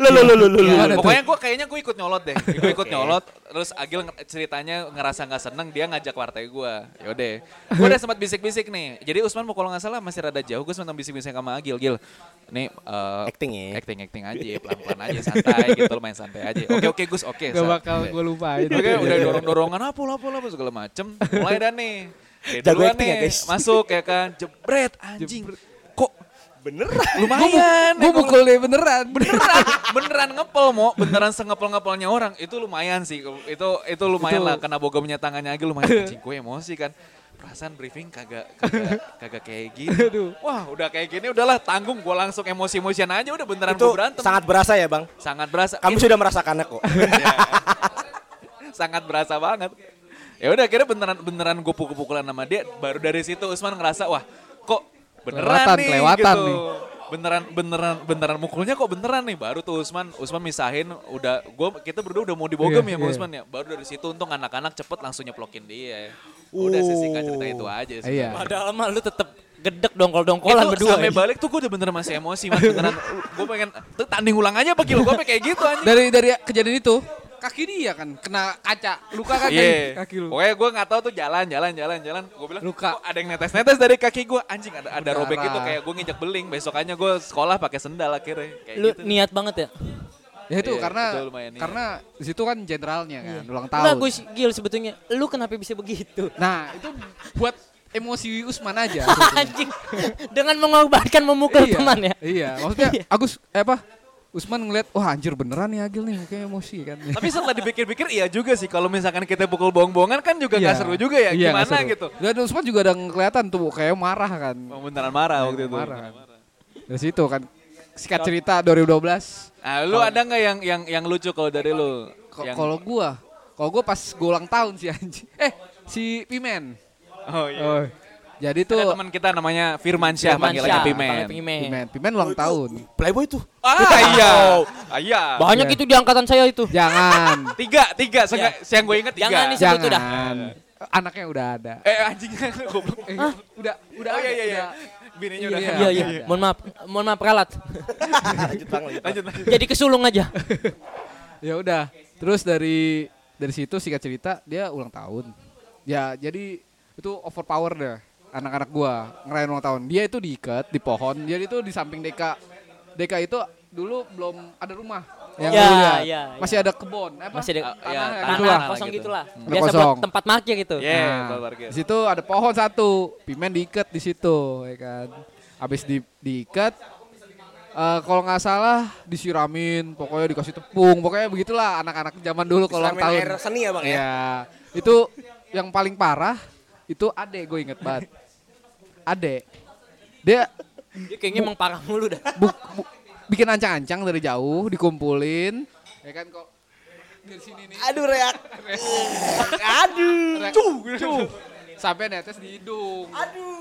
A: Lu lu lu lu lu.
B: Iya,
E: Gimana tuh?
B: pokoknya gue kayaknya gue ikut nyolot
A: <laughs>
B: deh. Gue
A: Iya.
B: ikut nyolot. Terus Agil nge- ceritanya ngerasa nggak seneng dia ngajak partai gue. Yaudah. Gue udah sempat bisik-bisik nih. Jadi Usman mau kalau nggak salah masih rada jauh. Gue sempat bisik-bisik sama Agil. Gil, nih eh,
A: Acting ya.
B: acting acting aja pelan-pelan aja santai gitu lo main santai aja. Oke oke Gus oke.
E: Gak
B: santai.
E: bakal gue lupain.
B: Oke Iya, udah dorong-dorongan apa lah apa lah apa, segala macem. Mulai dah nih. Kayak
A: Jago
B: duluan
A: acting ya,
B: nih,
A: guys.
B: Masuk ya kan. Jebret anjing. Kok
A: Beneran.
B: lumayan.
E: Gue mukul dia beneran.
B: beneran beneran ngepel mo beneran sengepel ngepelnya orang itu lumayan sih itu itu lumayan
E: Itu-
B: lah kena bogamnya tangannya lagi lumayan anjing gue emosi kan perasaan briefing kagak kagak kagak kayak gini
E: Aduh.
B: wah udah kayak gini udahlah tanggung gue langsung emosi emosian aja udah beneran
A: Itu
B: gue berantem
A: sangat berasa ya, Bang.
B: sangat berasa
A: Kami
B: Itu
A: sudah merasakannya
B: <laughs>
A: kok.
B: sangat berasa banget ya udah akhirnya beneran beneran gue pukul-pukulan sama dia baru dari situ Usman ngerasa wah kok beneran
E: Kelewatan,
B: nih
E: kelewatan
B: gitu.
E: nih.
B: beneran beneran beneran mukulnya kok beneran nih baru tuh Usman Usman misahin udah gue kita berdua udah mau dibogem ya
E: Iya,
B: sama
E: iya.
B: Usman ya baru dari situ untung anak-anak cepet langsung nyeplokin dia udah sih singkat cerita itu aja sih
E: Iya.
C: Padahal mah lu tetep gedek
B: Itu
C: dongkol-dongkolan berdua.
B: sampai
C: ya.
B: balik tuh gue udah beneran masih emosi mas beneran gue pengen tuh tanding ulang aja bagi lo gue kayak gitu anjing
E: dari dari kejadian itu kaki dia kan kena kaca luka kan
B: Iya.
E: kaki, kaki lu
B: Pokoknya gue nggak tahu tuh jalan, jalan, jalan, jalan. Gue bilang,
E: Luka.
B: kok ada yang netes-netes dari kaki gue. Anjing ada ada
E: Berdarah.
B: robek gitu kayak gue nginjak beling. Besokannya gue sekolah pakai sendal akhirnya. Kayak
C: Lu
B: gitu.
C: niat banget ya?
E: Ya itu
B: Iya,
E: karena
B: itu lumayan, iya.
E: karena di situ kan jenderalnya kan ulang tahun.
C: Iya. Bagus Gil sebetulnya. Lu kenapa bisa begitu?
E: Nah, itu buat emosi Usman aja.
C: <laughs> Anjing. Dengan mengorbankan memukul
E: Iya,
C: teman ya.
E: Iya,
C: <laughs>
E: maksudnya Agus eh apa? Usman ngeliat, wah anjir beneran nih Agil nih, kayaknya emosi kan. <laughs>
B: Tapi setelah dipikir-pikir iya juga sih kalau misalkan kita pukul bohong-bohongan kan juga
E: Iya.
B: nggak seru juga ya
E: Iya, nggak
B: gimana
E: seru.
B: gitu.
E: Dan Usman juga ada kelihatan tuh kayak marah kan.
B: Emang beneran marah waktu itu.
E: Iya, Marah. Dari situ kan sikat cerita 2012.
B: Nah, lu ada nggak yang yang yang lucu kalau dari lu?
E: Ko-
B: Yang-
E: Kalau gua, kalau gua pas gua ulang tahun sih anjir. Eh, si Pimen.
B: oh iya.
E: Oh. Jadi tuh
B: Ada teman kita namanya Firman Syah
C: Iya,
B: panggilannya
C: Mansyah,
B: Pimen.
C: panggil Pimen.
E: Pimen, Pimen ulang tahun.
A: Playboy tuh.
E: <laughs>
B: Ah iya. Ah, iya.
C: Banyak
E: Iya.
C: itu di angkatan saya itu.
E: Jangan.
B: Tiga, tiga,
E: Iya.
B: seenggak- yang gue inget tiga.
C: Jangan disebut udah.
E: Jangan. Anaknya udah ada.
B: Eh <laughs> anjingnya goblok.
E: Eh, Udah, udah.
B: Oh iya
E: ada,
B: iya iya.
E: udah.
B: Bininya
E: Iya,
B: udah.
C: Iya iya.
E: Iya.
C: Mohon maaf, mohon maaf ralat.
A: Lanjut bang, lanjut.
B: <laughs> Lanjut lanjut.
C: Jadi kesulung
E: <laughs>
C: aja.
E: ya udah terus dari dari situ singkat cerita dia ulang tahun ya jadi itu overpower deh anak-anak gua ngerayain ulang tahun dia itu diikat di pohon jadi itu di samping deka deka itu dulu belum ada rumah yang
C: Ya,
E: lu lihat.
C: ya,
E: masih
C: ya.
E: ada kebon apa
C: Masih ada
E: Tanah, ya,
B: tanah
E: gitulah.
B: lah
C: kosong
B: gitu.
C: gitulah.
E: Tanah
C: Biasa
E: kosong.
C: buat tempat parkir gitu.
B: Iya,
E: Nah,
B: buat parkir.
E: di situ ada pohon satu, pimen diikat di situ, ya kan. Habis di diikat eh, kalau nggak salah disiramin, pokoknya dikasih tepung, pokoknya begitulah anak-anak zaman dulu kalau ulang
A: Disiramin
E: tahun.
A: air seni ya, Bang, ya?
E: Iya. Itu yang paling parah itu Ade, gue inget banget. Ade. Dia
C: Dia kayaknya emang parah mulu dah.
E: bu- bu- bikin ancang-ancang dari jauh, dikumpulin, ya kan kok dari sini nih.
A: Aduh reak. Aduh.
E: Cuh, <laughs> Sampai netes di hidung.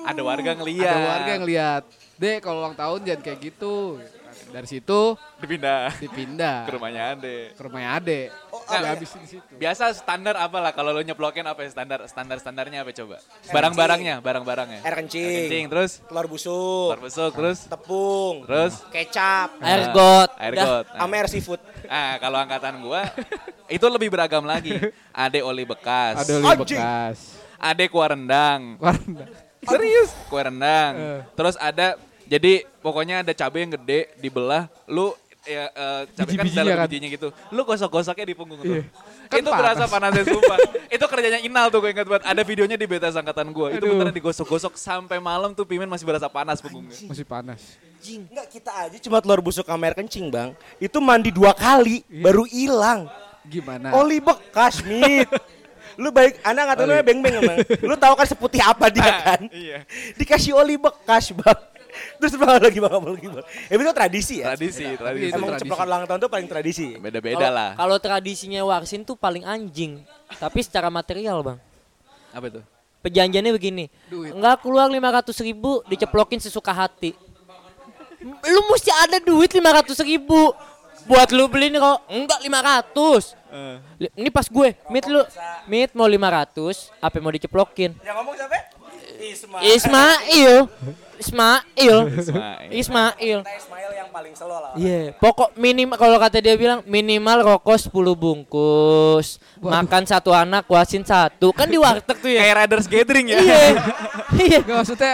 B: Ada warga
A: Iya.
B: ngeliat.
E: Ada warga yang lihat. Dek, kalau ulang tahun jangan kayak gitu. Dari situ
B: dipindah
E: dipindah
B: ke rumahnya Ade.
E: ke rumahnya Ade. Udah habis di situ.
B: Biasa standar apa lah kalau lo nyeplokin apa ya standar standar standarnya apa coba? Barang-barangnya, barang-barangnya.
A: Air kencing.
B: Air kencing terus
A: Telur busuk,
B: telur busuk terus
A: tepung,
B: terus
A: kecap,
C: Air
B: Nah,
C: got.
B: air
C: Dah.
B: got. Nah.
A: sama air seafood.
B: Ah, kalau angkatan gua itu lebih beragam lagi. Ade oli bekas,
E: Ada oli
A: Anjing.
E: bekas.
B: ade kuah rendang.
E: Warna.
B: Serius? Kue rendang.
E: Eh.
B: Terus ada jadi pokoknya ada cabai yang gede dibelah, lu ya eh, cabai kan
E: Biji-bijinya
B: dalam
E: kan?
B: bijinya gitu. Lu gosok-gosoknya di punggung tuh.
E: Iya. Kan
B: itu
E: panas.
B: berasa panasnya sumpah. itu kerjanya Inal tuh gue ingat banget. Ada videonya di beta angkatan gua. Itu
E: Aduh.
B: beneran digosok-gosok sampai malam tuh pimen masih berasa panas punggungnya.
E: Masih panas.
A: Jing, enggak kita aja cuma telur busuk sama air kencing, Bang. Itu mandi dua kali
B: Iya.
A: baru hilang.
B: Nah.
E: Gimana?
A: Oli bekas,
B: <laughs>
A: Mit. lu baik anak atau namanya beng beng emang lu tahu kan seputih apa dia kan
B: iya.
A: dikasih oli bekas bang terus bang lagi bang apa lagi bang eh, itu tradisi ya
B: Tradisi,
E: Tapi
B: tradisi.
E: itu-
A: emang
E: tradisi.
A: ceplokan ulang tahun tuh paling tradisi
B: Beda-beda
C: Kalau-
B: lah.
C: Kalau tradisinya Warsin tuh paling anjing. Tapi secara material bang.
B: Apa tuh?
C: Perjanjiannya begini.
E: Duit.
C: Enggak keluar 500 ribu diceplokin sesuka hati. M- Lu mesti ada duit 500 ribu. Buat lu beliin kok. Enggak 500.
B: Eh.
C: Li- Ini pas gue. Mit lu. Mit mau 500. Apa yang mau diceplokin?
A: yang ngomong siapa
B: Eh,
A: Isma
C: Ismail. Ismail.
B: Ismail.
C: Ismail.
A: Ismail yang paling selo lah
C: Iya, pokok minimal kalau kata dia bilang minimal rokok 10 bungkus, makan satu anak, wasin satu. Kan di warteg
E: Iya.
C: tuh ya.
B: Kayak Riders Gathering ya. <laughs>
C: Iya. Iya.
E: Gak maksudnya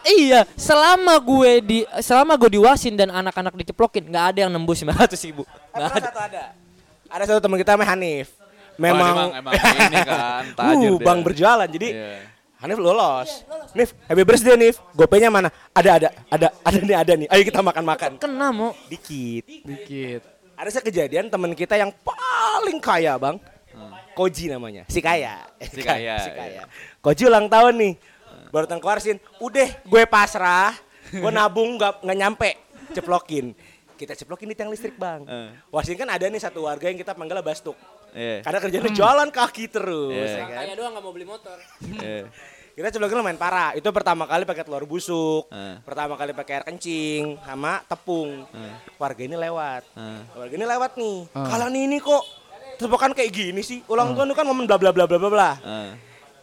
C: Iya, selama gue di selama gue diwasin dan anak-anak diceplokin, nggak ada yang nembus 500 ribu. Nggak ada.
A: ada ada satu teman kita namanya Hanif memang
B: Oh, emang- emang ini
A: <laughs>
B: kan,
A: uh,
B: tajir dia.
A: bang berjalan jadi
B: Iya.
A: Hanif lolos Nif happy birthday Nif gopenya mana ada ada ada ada nih ada nih ayo kita makan makan
C: Kena mau.
A: dikit
E: dikit.
A: ada sih kejadian teman kita yang paling kaya bang Koji namanya si kaya
B: Hmm. Si kaya,
A: <laughs> si
B: iya.
A: kaya Koji ulang tahun nih baru tentang keluarsin udah gue pasrah gue nabung nggak nggak nyampe ceplokin kita ceplokin di tiang listrik bang
B: Eh.
A: Wasin kan ada nih satu warga yang kita panggilnya Bastuk
B: Iya.
A: karena kerjanya jalan kaki terus
B: Iya.
A: ya kan?
C: doang nggak mau beli motor.
B: Iya.
A: kita ceplokin lumayan parah itu pertama kali pakai telur busuk
B: Eh.
A: pertama kali pakai air kencing sama tepung warga ini lewat
B: Eh.
A: warga ini lewat nih kalau nih ini kok tebakan kayak gini sih ulang tahun itu kan momen bla bla bla bla bla bla
B: Ah.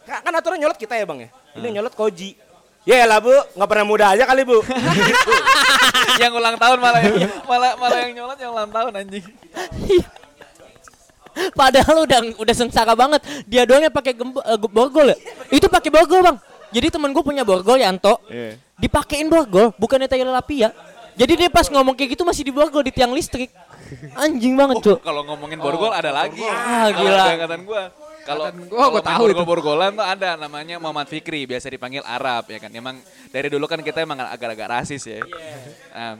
A: Ka- kan aturan nyolot kita ya bang ya ini
B: Eh.
A: nyolot koji ya lah bu nggak pernah muda aja kali
B: <laughs>
A: bu Gitu.
B: yang ulang tahun malah yang, malah malah yang nyolot yang ulang tahun anjing.
C: <laughs> Padahal udah udah sengsara banget. Dia doang yang pakai gembo- eh, ge- borgol ya. Itu pakai borgol bang. Jadi temen gue punya borgol ya, Yanto.
B: Iya.
C: Dipakein borgol, bukannya tayo lapia. Jadi dia pas ngomong kayak gitu masih di borgol di tiang listrik. Anjing
B: Oh,
C: banget, Cuk.
B: kalau ngomongin borgol ada lagi.
C: Ah,
B: Kalau
C: gila.
B: ada angkatan gua. Kalau
E: Angkatan gua, gua
B: kalau main
E: tahu itu.
B: Borgol-borgolan tuh ada namanya Muhammad Fikri, biasa dipanggil Arab ya kan. Emang dari dulu kan kita emang agak-agak rasis
E: Iya.
B: ya. Nah,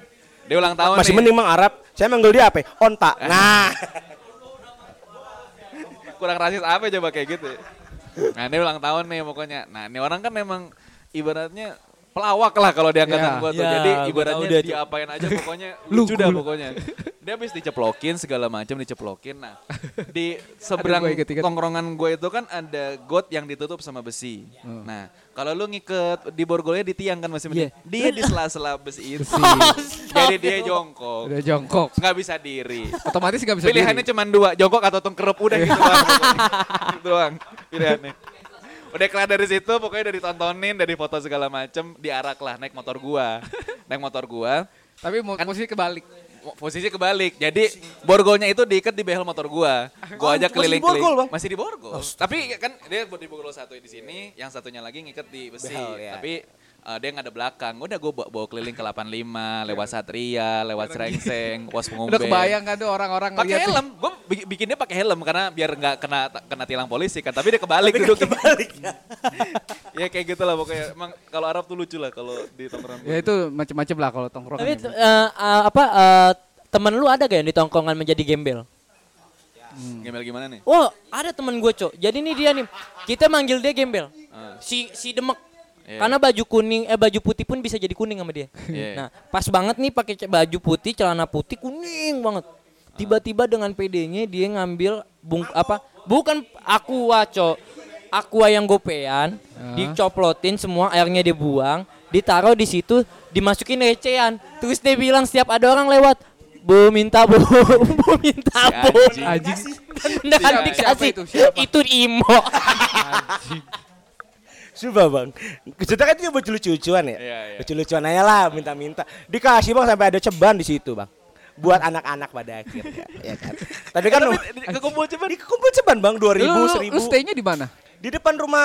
B: dia ulang tahun
A: Masih
B: nih.
A: mending mang Arab. Saya manggil dia apa? ya? Onta.
B: Eh.
A: Nah, <laughs>
B: Kurang rasis apa coba kayak gitu. ya. Nah, dia ulang tahun nih pokoknya. Nah, ini orang kan emang ibaratnya pelawak lah kalau di angkatan
E: Ya,
B: gua tuh.
C: ya,
B: Jadi
C: gua tahu
B: ibaratnya
C: dia tuh.
B: diapain aja pokoknya lucu dah pokoknya. Dia habis diceplokin segala macam diceplokin. Nah, di seberang
E: Aduh, gua inget-inget.
B: tongkrongan gue itu kan ada got yang ditutup sama besi. Nah, kalau lu ngiket di borgolnya di tiang kan masih
C: Iya.
B: Dia di sela-sela besi itu. Jadi
C: Astagfirullah.
B: dia jongkok.
E: Udah jongkok.
B: Nggak bisa diri.
E: Otomatis nggak bisa
B: Pilihannya
E: diri.
B: cuma dua, jongkok atau tengkerep udah gitu
E: <laughs>
B: doang. pokoknya. Gitu doang pilihannya. Udah kelar dari situ pokoknya dari tontonin, dari foto segala macem diarak lah naik motor gua. Naik motor gua,
E: Tapi mau
B: Kan
E: posisi kebalik.
B: posisi kebalik. Jadi borgolnya itu diikat di behel motor gua. Gua
A: Oh, masih
B: aja
A: di
B: keliling-keliling.
A: borgol, Bang?
B: Masih di borgol. Tapi kan dia buat di borgol satu di sini, yang satunya lagi ngikat di besi.
A: Behel, ya.
B: Tapi eh, dia nggak ada belakang. Udah gua bawa, bawa keliling ke 85, lewat Satria, lewat Srengseng, pos pengumben.
E: Iya. Udah kebayang kan tuh orang-orang
B: Pakai
E: ngeliat-
B: helm, gue bikin dia pakai helm karena biar nggak kena kena tilang polisi kan. <laughs> Tapi dia kebalik duduk. Kebalik. <laughs> ya kayak gitu lah pokoknya. Emang kalau Arab tuh lucu lah kalau di tongkrongan.
E: Ya itu macem-macem lah kalau tongkrongan.
C: Tapi eh, eh, apa eh, temen lu ada gak yang di tongkongan menjadi gembel?
B: Gembel gimana nih?
C: Wah, Oh, ada temen gue, Cok. Jadi nih dia nih, kita manggil dia gembel.
B: Ah.
C: Si si Demek.
B: Iya.
C: Karena baju kuning eh baju putih pun bisa jadi kuning sama dia.
B: Iya.
C: Nah, pas banget nih pakai ce- baju putih, celana putih kuning banget. Tiba-tiba dengan PD-nya dia ngambil bung apa? Bukan aqua, Cok. Aqua yang gopean,
B: Ah.
C: dicoplotin semua airnya dibuang, ditaruh di situ, dimasukin recehan. Terus dia bilang setiap ada orang lewat, Bu minta bu, <laughs> bu minta bu.
B: anjing.
E: Anjing.
C: Beneran
E: Siapa-
C: dikasih.
E: siapa itu? Siapa?
C: Itu Imo.
A: coba bang. Kita kan dia lucu lucuan ya.
B: Iya, iya.
A: Lucu-lucuan aja lah, minta-minta. Dikasih bang sampai ada ceban di situ bang. Buat anak-anak pada
B: <laughs>
A: akhirnya. ya kan. Tadi kan
B: Eh, Di- di- Kekumpul cepat.
A: di kekumpul ceban bang dua
E: Lu,
A: ribu
E: lu,
A: seribu
E: lu stay-nya di mana?
A: di depan rumah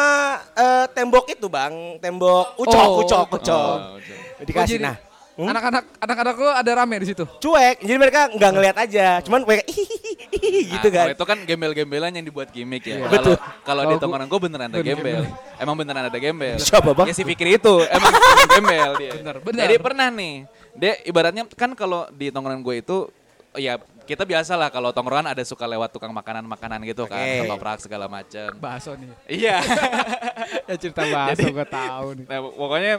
A: eh, tembok itu bang tembok ucok
E: Oh,
A: ucok
E: ucok.
A: ucok
B: Oh, ucok.
A: dikasih
E: jadi
A: nah Hmm?
E: Anak-anak anak-anak lu ada rame di situ.
A: cuek jadi mereka nggak ngelihat aja cuman mereka <laughs> gitu
B: Nah,
A: kan Iya.
B: kalau itu kan gembel-gembelan yang dibuat gimmick ya.
A: Betul.
B: Kalau kalau di
E: Kalau gua-
B: tongkrongan gue beneran ada
E: Bener,
B: gembel. Emang beneran ada gembel.
A: Siapa, Bang?
B: Ya si Fikri itu emang <laughs> gembel dia.
E: Bener, bener.
B: Jadi pernah nih, dia ibaratnya kan kalau di tongkrongan gue itu ya kita biasa lah kalau tongkrongan ada suka lewat tukang makanan-makanan gitu kan,
A: Oke.
B: ketoprak segala macem.
E: Bakso nih. <laughs>
B: Iya.
E: Ya cerita
A: <laughs>
E: bakso gua tahu nih.
B: nah, pokoknya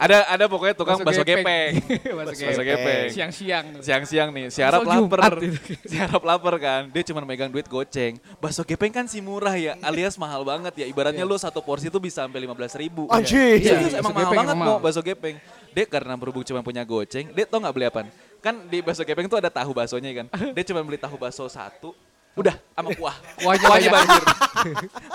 B: ada ada pokoknya tukang bakso gepeng.
E: <laughs> Bakso
B: Bakso
E: gepeng.
B: gepeng.
E: Siang-siang.
B: Siang-siang nih, si Arab
E: Bakso Jumat
B: lapar.
E: itu.
B: <laughs> Si Arab lapar kan. Dia cuma megang duit goceng. Bakso gepeng kan si murah ya, alias mahal banget ya. Ibaratnya lu satu porsi itu bisa sampai 15 ribu.
A: Anjing.
B: Serius,
E: Iya,
B: emang
E: bakso
B: mahal
E: gepeng
B: banget
E: emang
B: mau
E: mahal.
B: bakso gepeng. Dia karena berhubung cuma punya goceng, dia tau gak beli apaan? Kan di bakso gepeng tuh ada tahu baksonya kan. Dia cuma beli tahu bakso satu, udah sama kuah.
E: Kuahnya banyak.
B: banjir.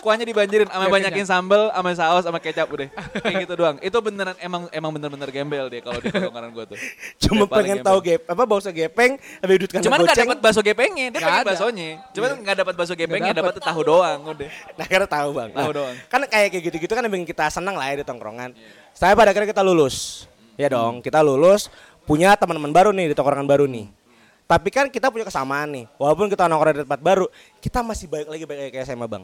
B: Kuahnya dibanjirin sama
E: Biar
B: banyakin sambel, sama saus, sama kecap udah. Kayak gitu doang. Itu beneran emang emang bener-bener gembel deh kalau di tongkrongan gua tuh.
A: cuma
B: Dia paling
A: pengen
B: gembel.
A: tahu gep apa bangsa gepeng habis duit kan
B: Cuman gak
A: goceng
B: dapat bakso gepengnya, dia
E: Nggak
B: pengen
E: ada.
B: baksonya. Cuman gak dapat bakso gepengnya,
E: dapet.
B: dapat tahu doang udah.
A: <laughs> nah karena tahu bang
B: Tahu
A: Nah,
B: doang.
A: kan kayak kayak gitu-gitu kan yang bikin kita senang lah ya di tongkrongan saya pada akhirnya kita lulus ya dong kita lulus punya teman-teman baru nih di tongkrongan baru nih tapi kan kita punya kesamaan nih walaupun kita nongkrong di tempat baru kita masih baik lagi baik lagi kayak SMA bang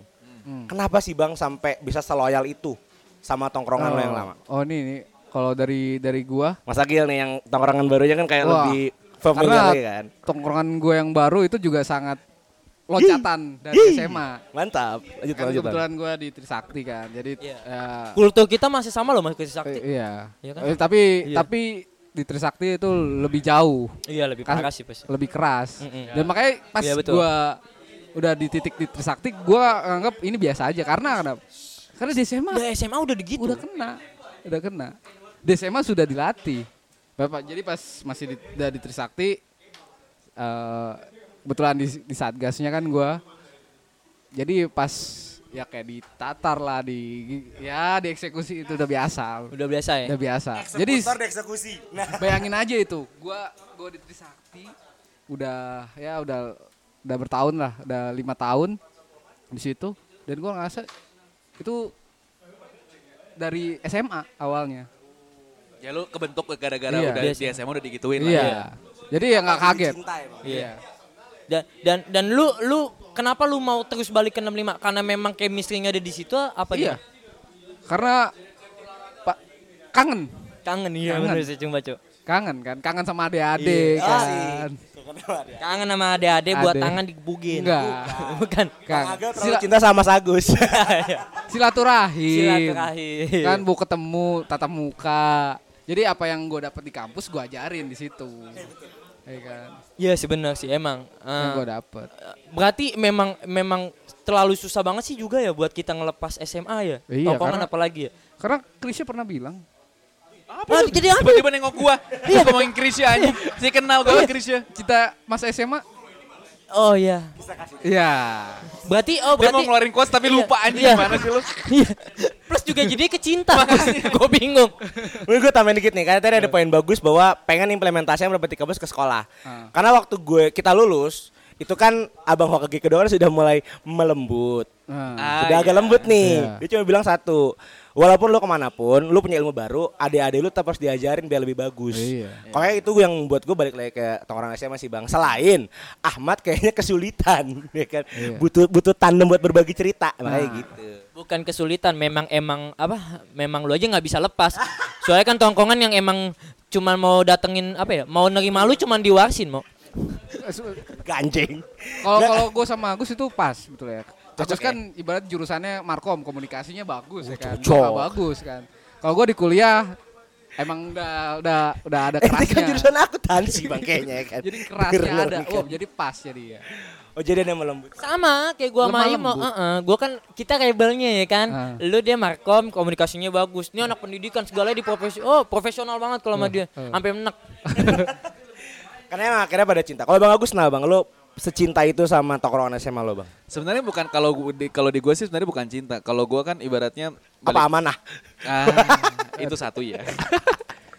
A: kenapa sih bang sampai bisa seloyal itu sama tongkrongan lo yang lama
E: Oh, nih nih kalau dari dari gua
A: Mas Agil nih yang tongkrongan barunya kan kayak
E: Wah,
A: lebih familiar lagi kan.
E: tongkrongan gue yang baru itu juga sangat loncatan dari
A: Ih,
E: SMA.
A: Mantap. Lanjut
E: Kan
A: lanjut. Bang.
E: kebetulan gue di Trisakti kan, jadi
C: Iya.
E: ya,
C: <laughs> Kultur kita masih sama loh masih
E: eh,
C: sakti.
E: iya.
C: Iya kan?
E: Eh, tapi tapi di Trisakti itu lebih jauh,
C: Iya lebih
E: Kan-
C: parah sih pasti.
E: lebih keras.
C: Mm-mm.
E: Dan makanya pas
C: Iya, betul.
E: gue udah di titik di Trisakti, gue anggap ini biasa aja karena kenapa? Karena di SMA
C: Udah SMA udah begitu.
E: udah kena, gitu. udah kena. Di SMA sudah dilatih. Bapak, jadi pas masih di, udah di Trisakti, eh kebetulan di, di Satgasnya kan gua Jadi pas ya kayak ditatar lah di ya dieksekusi itu udah biasa,
C: Udah biasa ya.
E: udah biasa. Jadi
A: eksekusi. Nah,
E: <laughs> bayangin aja itu, gua gua di Trisakti udah ya udah udah bertahun lah, udah lima tahun di situ dan gua ngerasa itu dari SMA awalnya.
B: Ya lu kebentuk gara-gara
E: Iya.
B: udah di SMA udah digituin lah
E: Iya. Jadi ya nggak kaget.
A: cinta emang.
E: Iya.
C: Dan dan dan lu lu kenapa lu mau terus balik ke 65? Karena memang chemistry-nya ada di situ apa gimana?
E: Iya. Karena Pak kangen,
C: Kangen iya
E: Kangen.
C: bener sih cuma Cuk.
E: kangen kan, kangen sama adik-adik
C: Iya.
E: kan.
C: Kangen sama ade-ade buat
E: Ade.
C: tangan dibugin.
E: Enggak.
C: <laughs> Bukan.
E: Kan.
A: Agak terlalu
E: Sila-
A: cinta sama Mas Agus.
E: silaturahim.
C: Silaturahim.
E: Kan bu ketemu tatap muka. Jadi apa yang gue dapet di kampus gue ajarin di situ. Iya kan.
C: <laughs> Iya sih benar sih emang.
E: Yang
C: Eh,
E: gue dapet.
C: berarti memang memang terlalu susah banget sih juga ya buat kita ngelepas SMA ya.
E: Iya,
C: Tongkongan
E: karena-
C: apalagi ya.
E: Karena Krisya pernah bilang
C: Ah,
B: Apa lu?
C: jadi apa?
B: Tiba-tiba nengok gua. Terus ngomongin Krisya aja. Si kenal gua sama ya. Krisya.
E: kita mas SMA.
C: Oh iya.
E: Ya.
C: Berarti
B: Dia
C: oh
B: mau
C: berarti
B: ngeluarin quotes tapi
C: Iya,
B: lupa anjing
C: iya.
B: gimana sih lu?
C: <laughs> Iya. Plus juga jadi
B: <laughs>
C: kecinta. Gue bingung.
A: gue tambahin dikit nih, karena tadi
E: Iya.
A: ada poin bagus bahwa pengen implementasinya mendapati kampus ke sekolah.
E: Ah.
A: Karena waktu gue kita lulus, itu kan abang Hokage kedua kan sudah mulai melembut.
E: Nah,
B: Ah,
A: Sudah agak
B: iya.
A: lembut nih.
E: Iya.
A: Dia cuma bilang satu. Walaupun lu kemanapun, lu punya ilmu baru, adik-adik lu tetap harus diajarin biar lebih bagus.
E: Iya.
A: Makanya itu yang buat gue balik lagi ke orang SMA sih bang. Selain Ahmad kayaknya kesulitan, <laughs> ya kan?
E: Iya.
A: Butuh butuh tandem buat berbagi cerita,
E: Ah.
A: makanya gitu.
C: Bukan kesulitan, memang emang apa? Memang lu aja nggak bisa lepas. Soalnya kan tongkongan yang emang cuman mau datengin apa ya? Mau nerima lu cuman diwarsin mau.
A: Ganjeng.
E: Kalau
A: Nggak.
E: kalau gue sama Agus itu pas betul ya. Agus
A: Cocok
E: kan ibarat jurusannya markom komunikasinya bagus ya kan.
A: cocok.
E: Maka bagus kan. Kalau gue di kuliah emang udah udah udah ada
A: Eh, ini kan
E: kerasnya.
A: jurusan aku tansi bang kayaknya ya kan.
E: Jadi kerasnya
A: Bener,
E: ada.
A: ya kan?
E: Oh, jadi pas jadi ya.
A: Oh jadi ada yang melembut.
C: Sama kayak gua sama
E: Lemah
C: Imo.
E: lembut.
C: Heeh, gua kan kita rebelnya ya kan.
E: Ah.
C: Lu dia markom, komunikasinya bagus. Ini anak pendidikan segalanya di profesi. Oh, profesional banget kalau
B: Iya,
C: sama dia. Sampai menek.
A: Karena emang akhirnya pada cinta. Kalau bang Agus nah bang, lu secinta itu sama tongkrongan SMA lo bang?
B: Sebenarnya bukan kalau gua- di kalau di gua sih sebenarnya bukan cinta. Kalau gua kan ibaratnya
A: Apa
B: balik-
A: amanah?
B: Ah, itu satu ya.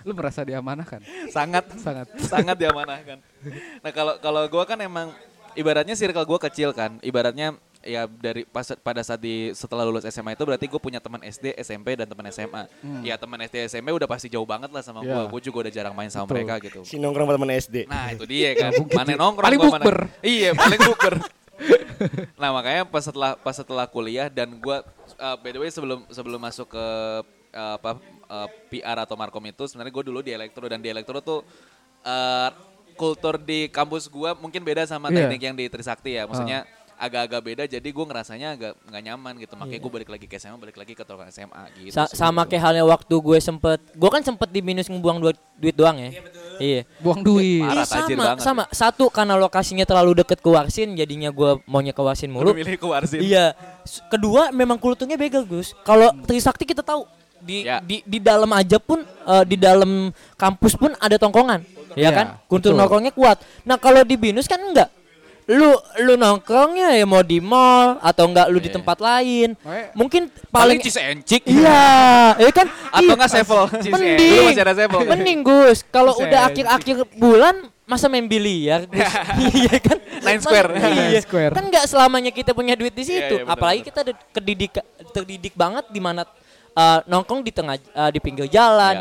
E: Lu merasa diamanahkan?
B: sangat
E: Sangat.
B: <laughs> sangat diamanahkan. Nah kalau kalau gue kan emang ibaratnya circle gue kecil kan, ibaratnya ya dari pas pada saat di setelah lulus SMA itu berarti gue punya teman SD, SMP dan teman SMA. Ya teman SD, SMP udah pasti jauh banget lah sama
E: Ya.
B: gue. Gue juga udah jarang main sama mereka gitu.
A: Si nongkrong sama temen SD.
C: Iya.
B: Nah itu dia kan, mana nongkrong
E: Paling
B: gua, mana-
E: bukber.
B: Iya paling
C: <laughs>
B: bukber. nah makanya pas setelah pas setelah kuliah dan gue by the way sebelum sebelum masuk ke eh, apa eh, PR atau markom itu sebenarnya gue dulu di elektro dan di elektro tuh eh, kultur di kampus gue mungkin beda sama
E: Iya.
B: teknik yang di Trisakti ya, maksudnya
C: Ah.
B: agak-agak beda jadi gue ngerasanya agak nggak nyaman gitu makanya gue balik lagi ke SMA balik lagi ke tongkrongan SMA gitu
C: Iya. Sa-
B: sih.
C: sama kayak halnya waktu gue sempet, gue kan sempet di minus ngebuang duit, duit doang ya. Iya.
E: Buang duit.
B: Parah,
C: Iya
B: tajir
C: sama,
B: banget.
C: sama. Satu karena lokasinya terlalu deket ke Warsin, jadinya gue maunya ke Warsin mulu.
B: Lebih milih ke Warsin.
C: Iya. S- Kedua, memang kulturnya begal Gus. Kalau
E: Hmm.
C: Trisakti kita tahu di
B: Ya.
C: di di dalam aja pun eh, di dalam kampus pun ada tongkongan, ya
E: Iya,
C: kan? Kultur
E: betul.
C: nongkrongnya kuat. Nah kalau di binus kan enggak. Lu lu nongkrongnya ya mau di mall atau enggak lu di tempat lain.
E: Makanya-
C: Mungkin
B: Iya. paling
C: paling
B: cisencik
C: Iya, ya kan?
B: atau
C: Iya.
B: nggak sevel
C: Mending.
B: Dulu ya. masih ada sevel
C: Mending Gus, kalau
E: Bisa
C: udah
E: ya.
C: akhir-akhir bulan masa main biliar
B: <laughs>
C: Gus. iya kan?
B: Nine square.
C: Mas- iya.
E: Nine square.
C: Kan nggak selamanya kita punya duit di situ.
B: Iya, iya, benar,
C: Apalagi
B: benar.
C: kita ada kedidik terdidik banget di mana eh, nongkrong di tengah eh, di pinggir jalan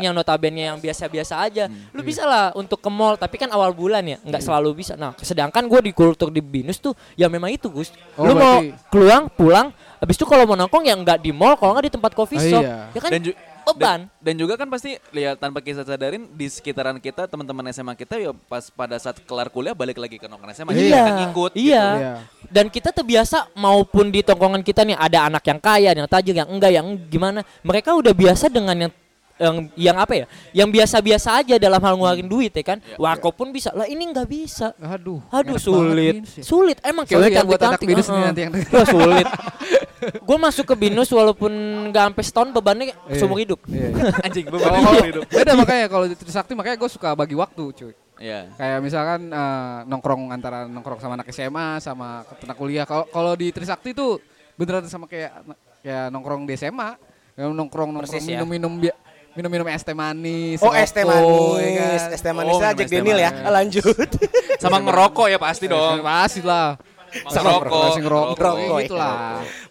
B: Iya. Hmm,
C: yang notabene yang biasa-biasa aja. Lu bisa lah untuk ke mall, tapi kan awal bulan ya, nggak selalu bisa. Nah, sedangkan gue di kultur di Binus tuh ya memang itu Gus.
E: Oh,
C: Lu mau
E: berarti-
C: keluar pulang Habis itu kalau mau nongkrong ya nggak di mall, kalau nggak di tempat coffee
E: Oh,
C: shop.
E: iya.
C: Ya kan?
B: dan, ju-
C: beban.
B: dan, dan juga kan pasti lihat tanpa kita sadarin di sekitaran kita teman-teman SMA kita ya pas pada saat kelar kuliah balik lagi ke nongkrong SMA jadi
C: Iya.
B: kita ngikut
C: Iya.
B: gitu.
E: Iya.
C: Dan kita terbiasa maupun di tongkongan kita nih ada anak yang kaya, yang tajir, yang enggak, yang gimana. Mereka udah biasa dengan yang yang yang apa ya? Yang biasa-biasa aja dalam hal ngeluarin duit ya kan.
B: Iya.
C: Warkop pun bisa. Lah ini nggak bisa.
E: Aduh.
C: Aduh
E: enak
C: sulit.
E: banget ini sih.
C: Sulit. Emang
E: Sorry
C: cewek
E: ya buat anak
C: cantik-cantik,
E: binus nih
C: heeh.
E: nanti yang denger.
C: Wah, sulit. <laughs> Gue masuk ke binus walaupun nggak sampai setahun bebannya seumur hidup.
E: Iya.
B: anjing beban
E: Kalau- kalau-
B: hidup
E: Iya. Beda makanya kalau di Trisakti makanya gue suka bagi waktu, cuy.
B: Iya.
E: Kayak misalkan eh, nongkrong antara nongkrong sama anak SMA sama ke- anak kuliah. Kalau kalau di Trisakti tuh beneran sama kayak kayak nongkrong di SMA. Yang nongkrong nongkrong
C: Persis ya.
E: minum-minum bi- minum-minum es teh manis.
A: Oh es teh
E: rokok, ya
A: manis,
E: kan.
A: es teh manis
B: Oh,
A: lah
B: minum
A: Jack
B: es teh
A: Daniel ya.
B: manis.
A: Lanjut.
B: sama ngerokok ya pasti dong
E: Pasti lah.
B: Sama ngerokok.
E: Masih ngerokok.
A: Ngerokok,
E: gitu
A: ya.
E: lah.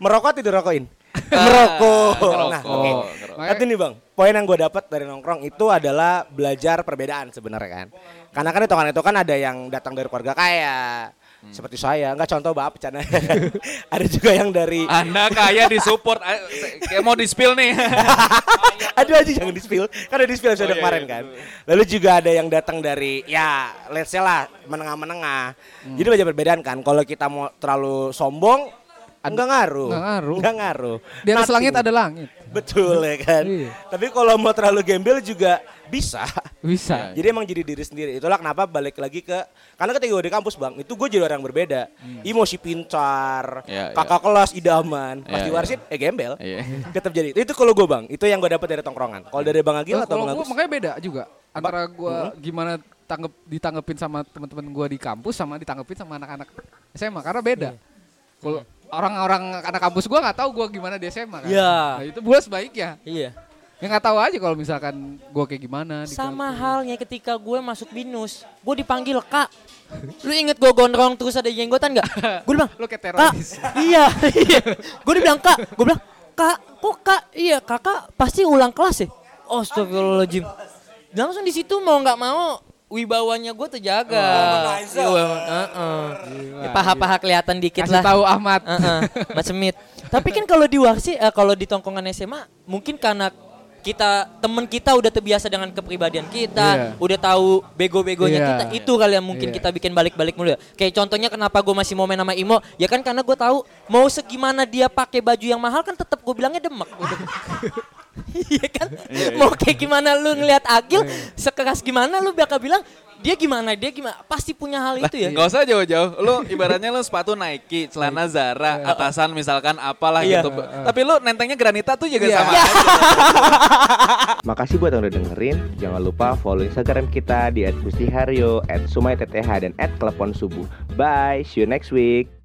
A: Merokok tidak
E: <laughs>
A: rokokin. Merokok.
B: ngerokok,
A: Nah, oke.
B: ngerokok.
A: Tapi nih Bang, poin yang gue dapat dari nongkrong itu adalah belajar perbedaan sebenarnya kan. Karena kan di tongkrongan itu kan ada yang datang dari keluarga kaya, Seperti saya, nggak contoh bapak bercanda. <laughs> ada juga yang dari
E: Ah,
B: Anda kaya disupport. Ayo, Kayak mau di spill nih.
C: Nah,
A: <laughs> Aduh aja jangan di spill. Kan ada di spill
E: Oh,
A: episode
B: iya,
A: kemarin
B: iya,
A: kan. Lalu juga ada yang datang dari ya let's say lah menengah-menengah.
E: Hmm.
A: Jadi banyak perbedaan kan. Kalau kita mau terlalu sombong enggak ngaruh.
E: nggak ngaruh.
A: Enggak ngaruh.
E: Di atas
A: Nothing.
E: langit ada langit.
A: Betul ya kan.
E: Iya.
A: Tapi kalau mau terlalu gembel juga bisa.
B: Iya,
E: Bisa.
A: Nah, Jadi emang jadi diri sendiri. Itulah kenapa balik lagi ke karena ketika gue di kampus bang, itu gue jadi orang yang berbeda. Emosi pintar,
B: Hmm. Iya,
A: kakak kelas idaman, pasti
B: Iya,
A: warisnya eh gembel.
B: Iya.
A: Tetap jadi. Itu kalau gue bang, itu yang gue dapat dari tongkrongan. Kalau dari bang Agil
E: Nah,
A: atau
E: kalau
A: bang
E: gue
A: Agus?
E: makanya beda juga antara gue
C: Hmm?
E: gimana tanggep ditanggepin sama teman-teman gue di kampus sama ditanggepin sama anak-anak SMA karena beda.
C: Iya.
E: Kalau orang-orang anak kampus gue nggak tahu gue gimana di SMA kan.
A: Iya.
E: Nah, itu gue sebaiknya.
A: Iya.
E: Yang nggak tahu aja kalau misalkan gue kayak gimana. di
C: Sama
E: kampus.
C: halnya ketika gue masuk binus, gue dipanggil kak. Lu inget gue gondrong terus ada jenggotan
E: <laughs>
C: gak? Gue bilang,
E: Lu kayak
C: kak,
E: teroris.
C: <laughs> iya, iya. Gue dibilang kak, gue bilang, kak, kok kak, iya kakak pasti ulang kelas ya? Astagfirullahaladzim. Langsung di situ mau nggak mau wibawanya gue terjaga. Iya, heeh. Ya, Paha-paha kelihatan dikit lah.
E: Kasih tahu Ahmad.
C: Heeh,
E: <laughs>
C: Mas Semit. Tapi kan kalau di Warsi eh, kalau di tongkongan SMA mungkin karena kita temen kita udah terbiasa dengan kepribadian kita,
E: Iya.
C: udah tahu bego-begonya
E: Iya.
C: kita. Itu kali yang mungkin
E: Iya.
C: kita bikin balik-balik mulu ya. Kayak contohnya kenapa gue masih mau main sama Imo, ya kan karena gue tahu mau segimana dia pakai baju yang mahal kan tetap gue bilangnya demek. <laughs> Iya kan? Mau kayak gimana lu ngelihat Agil
E: Iya.
C: sekeras gimana lu bakal bilang dia gimana, dia gimana. Pasti punya hal itu ya.
B: <laughs>
E: iya.
B: Nggak usah jauh-jauh. Lu ibaratnya lu sepatu Nike, celana Zara, atasan misalkan apalah
C: Iya.
B: gitu. Tapi lu nentengnya granita tuh juga
E: Iya.
B: sama.
C: Iya.
D: Makasih buat yang udah dengerin. Jangan lupa follow Instagram kita di @gustiharyo, @sumaitth dan @klepon subuh. Bye, see you next week.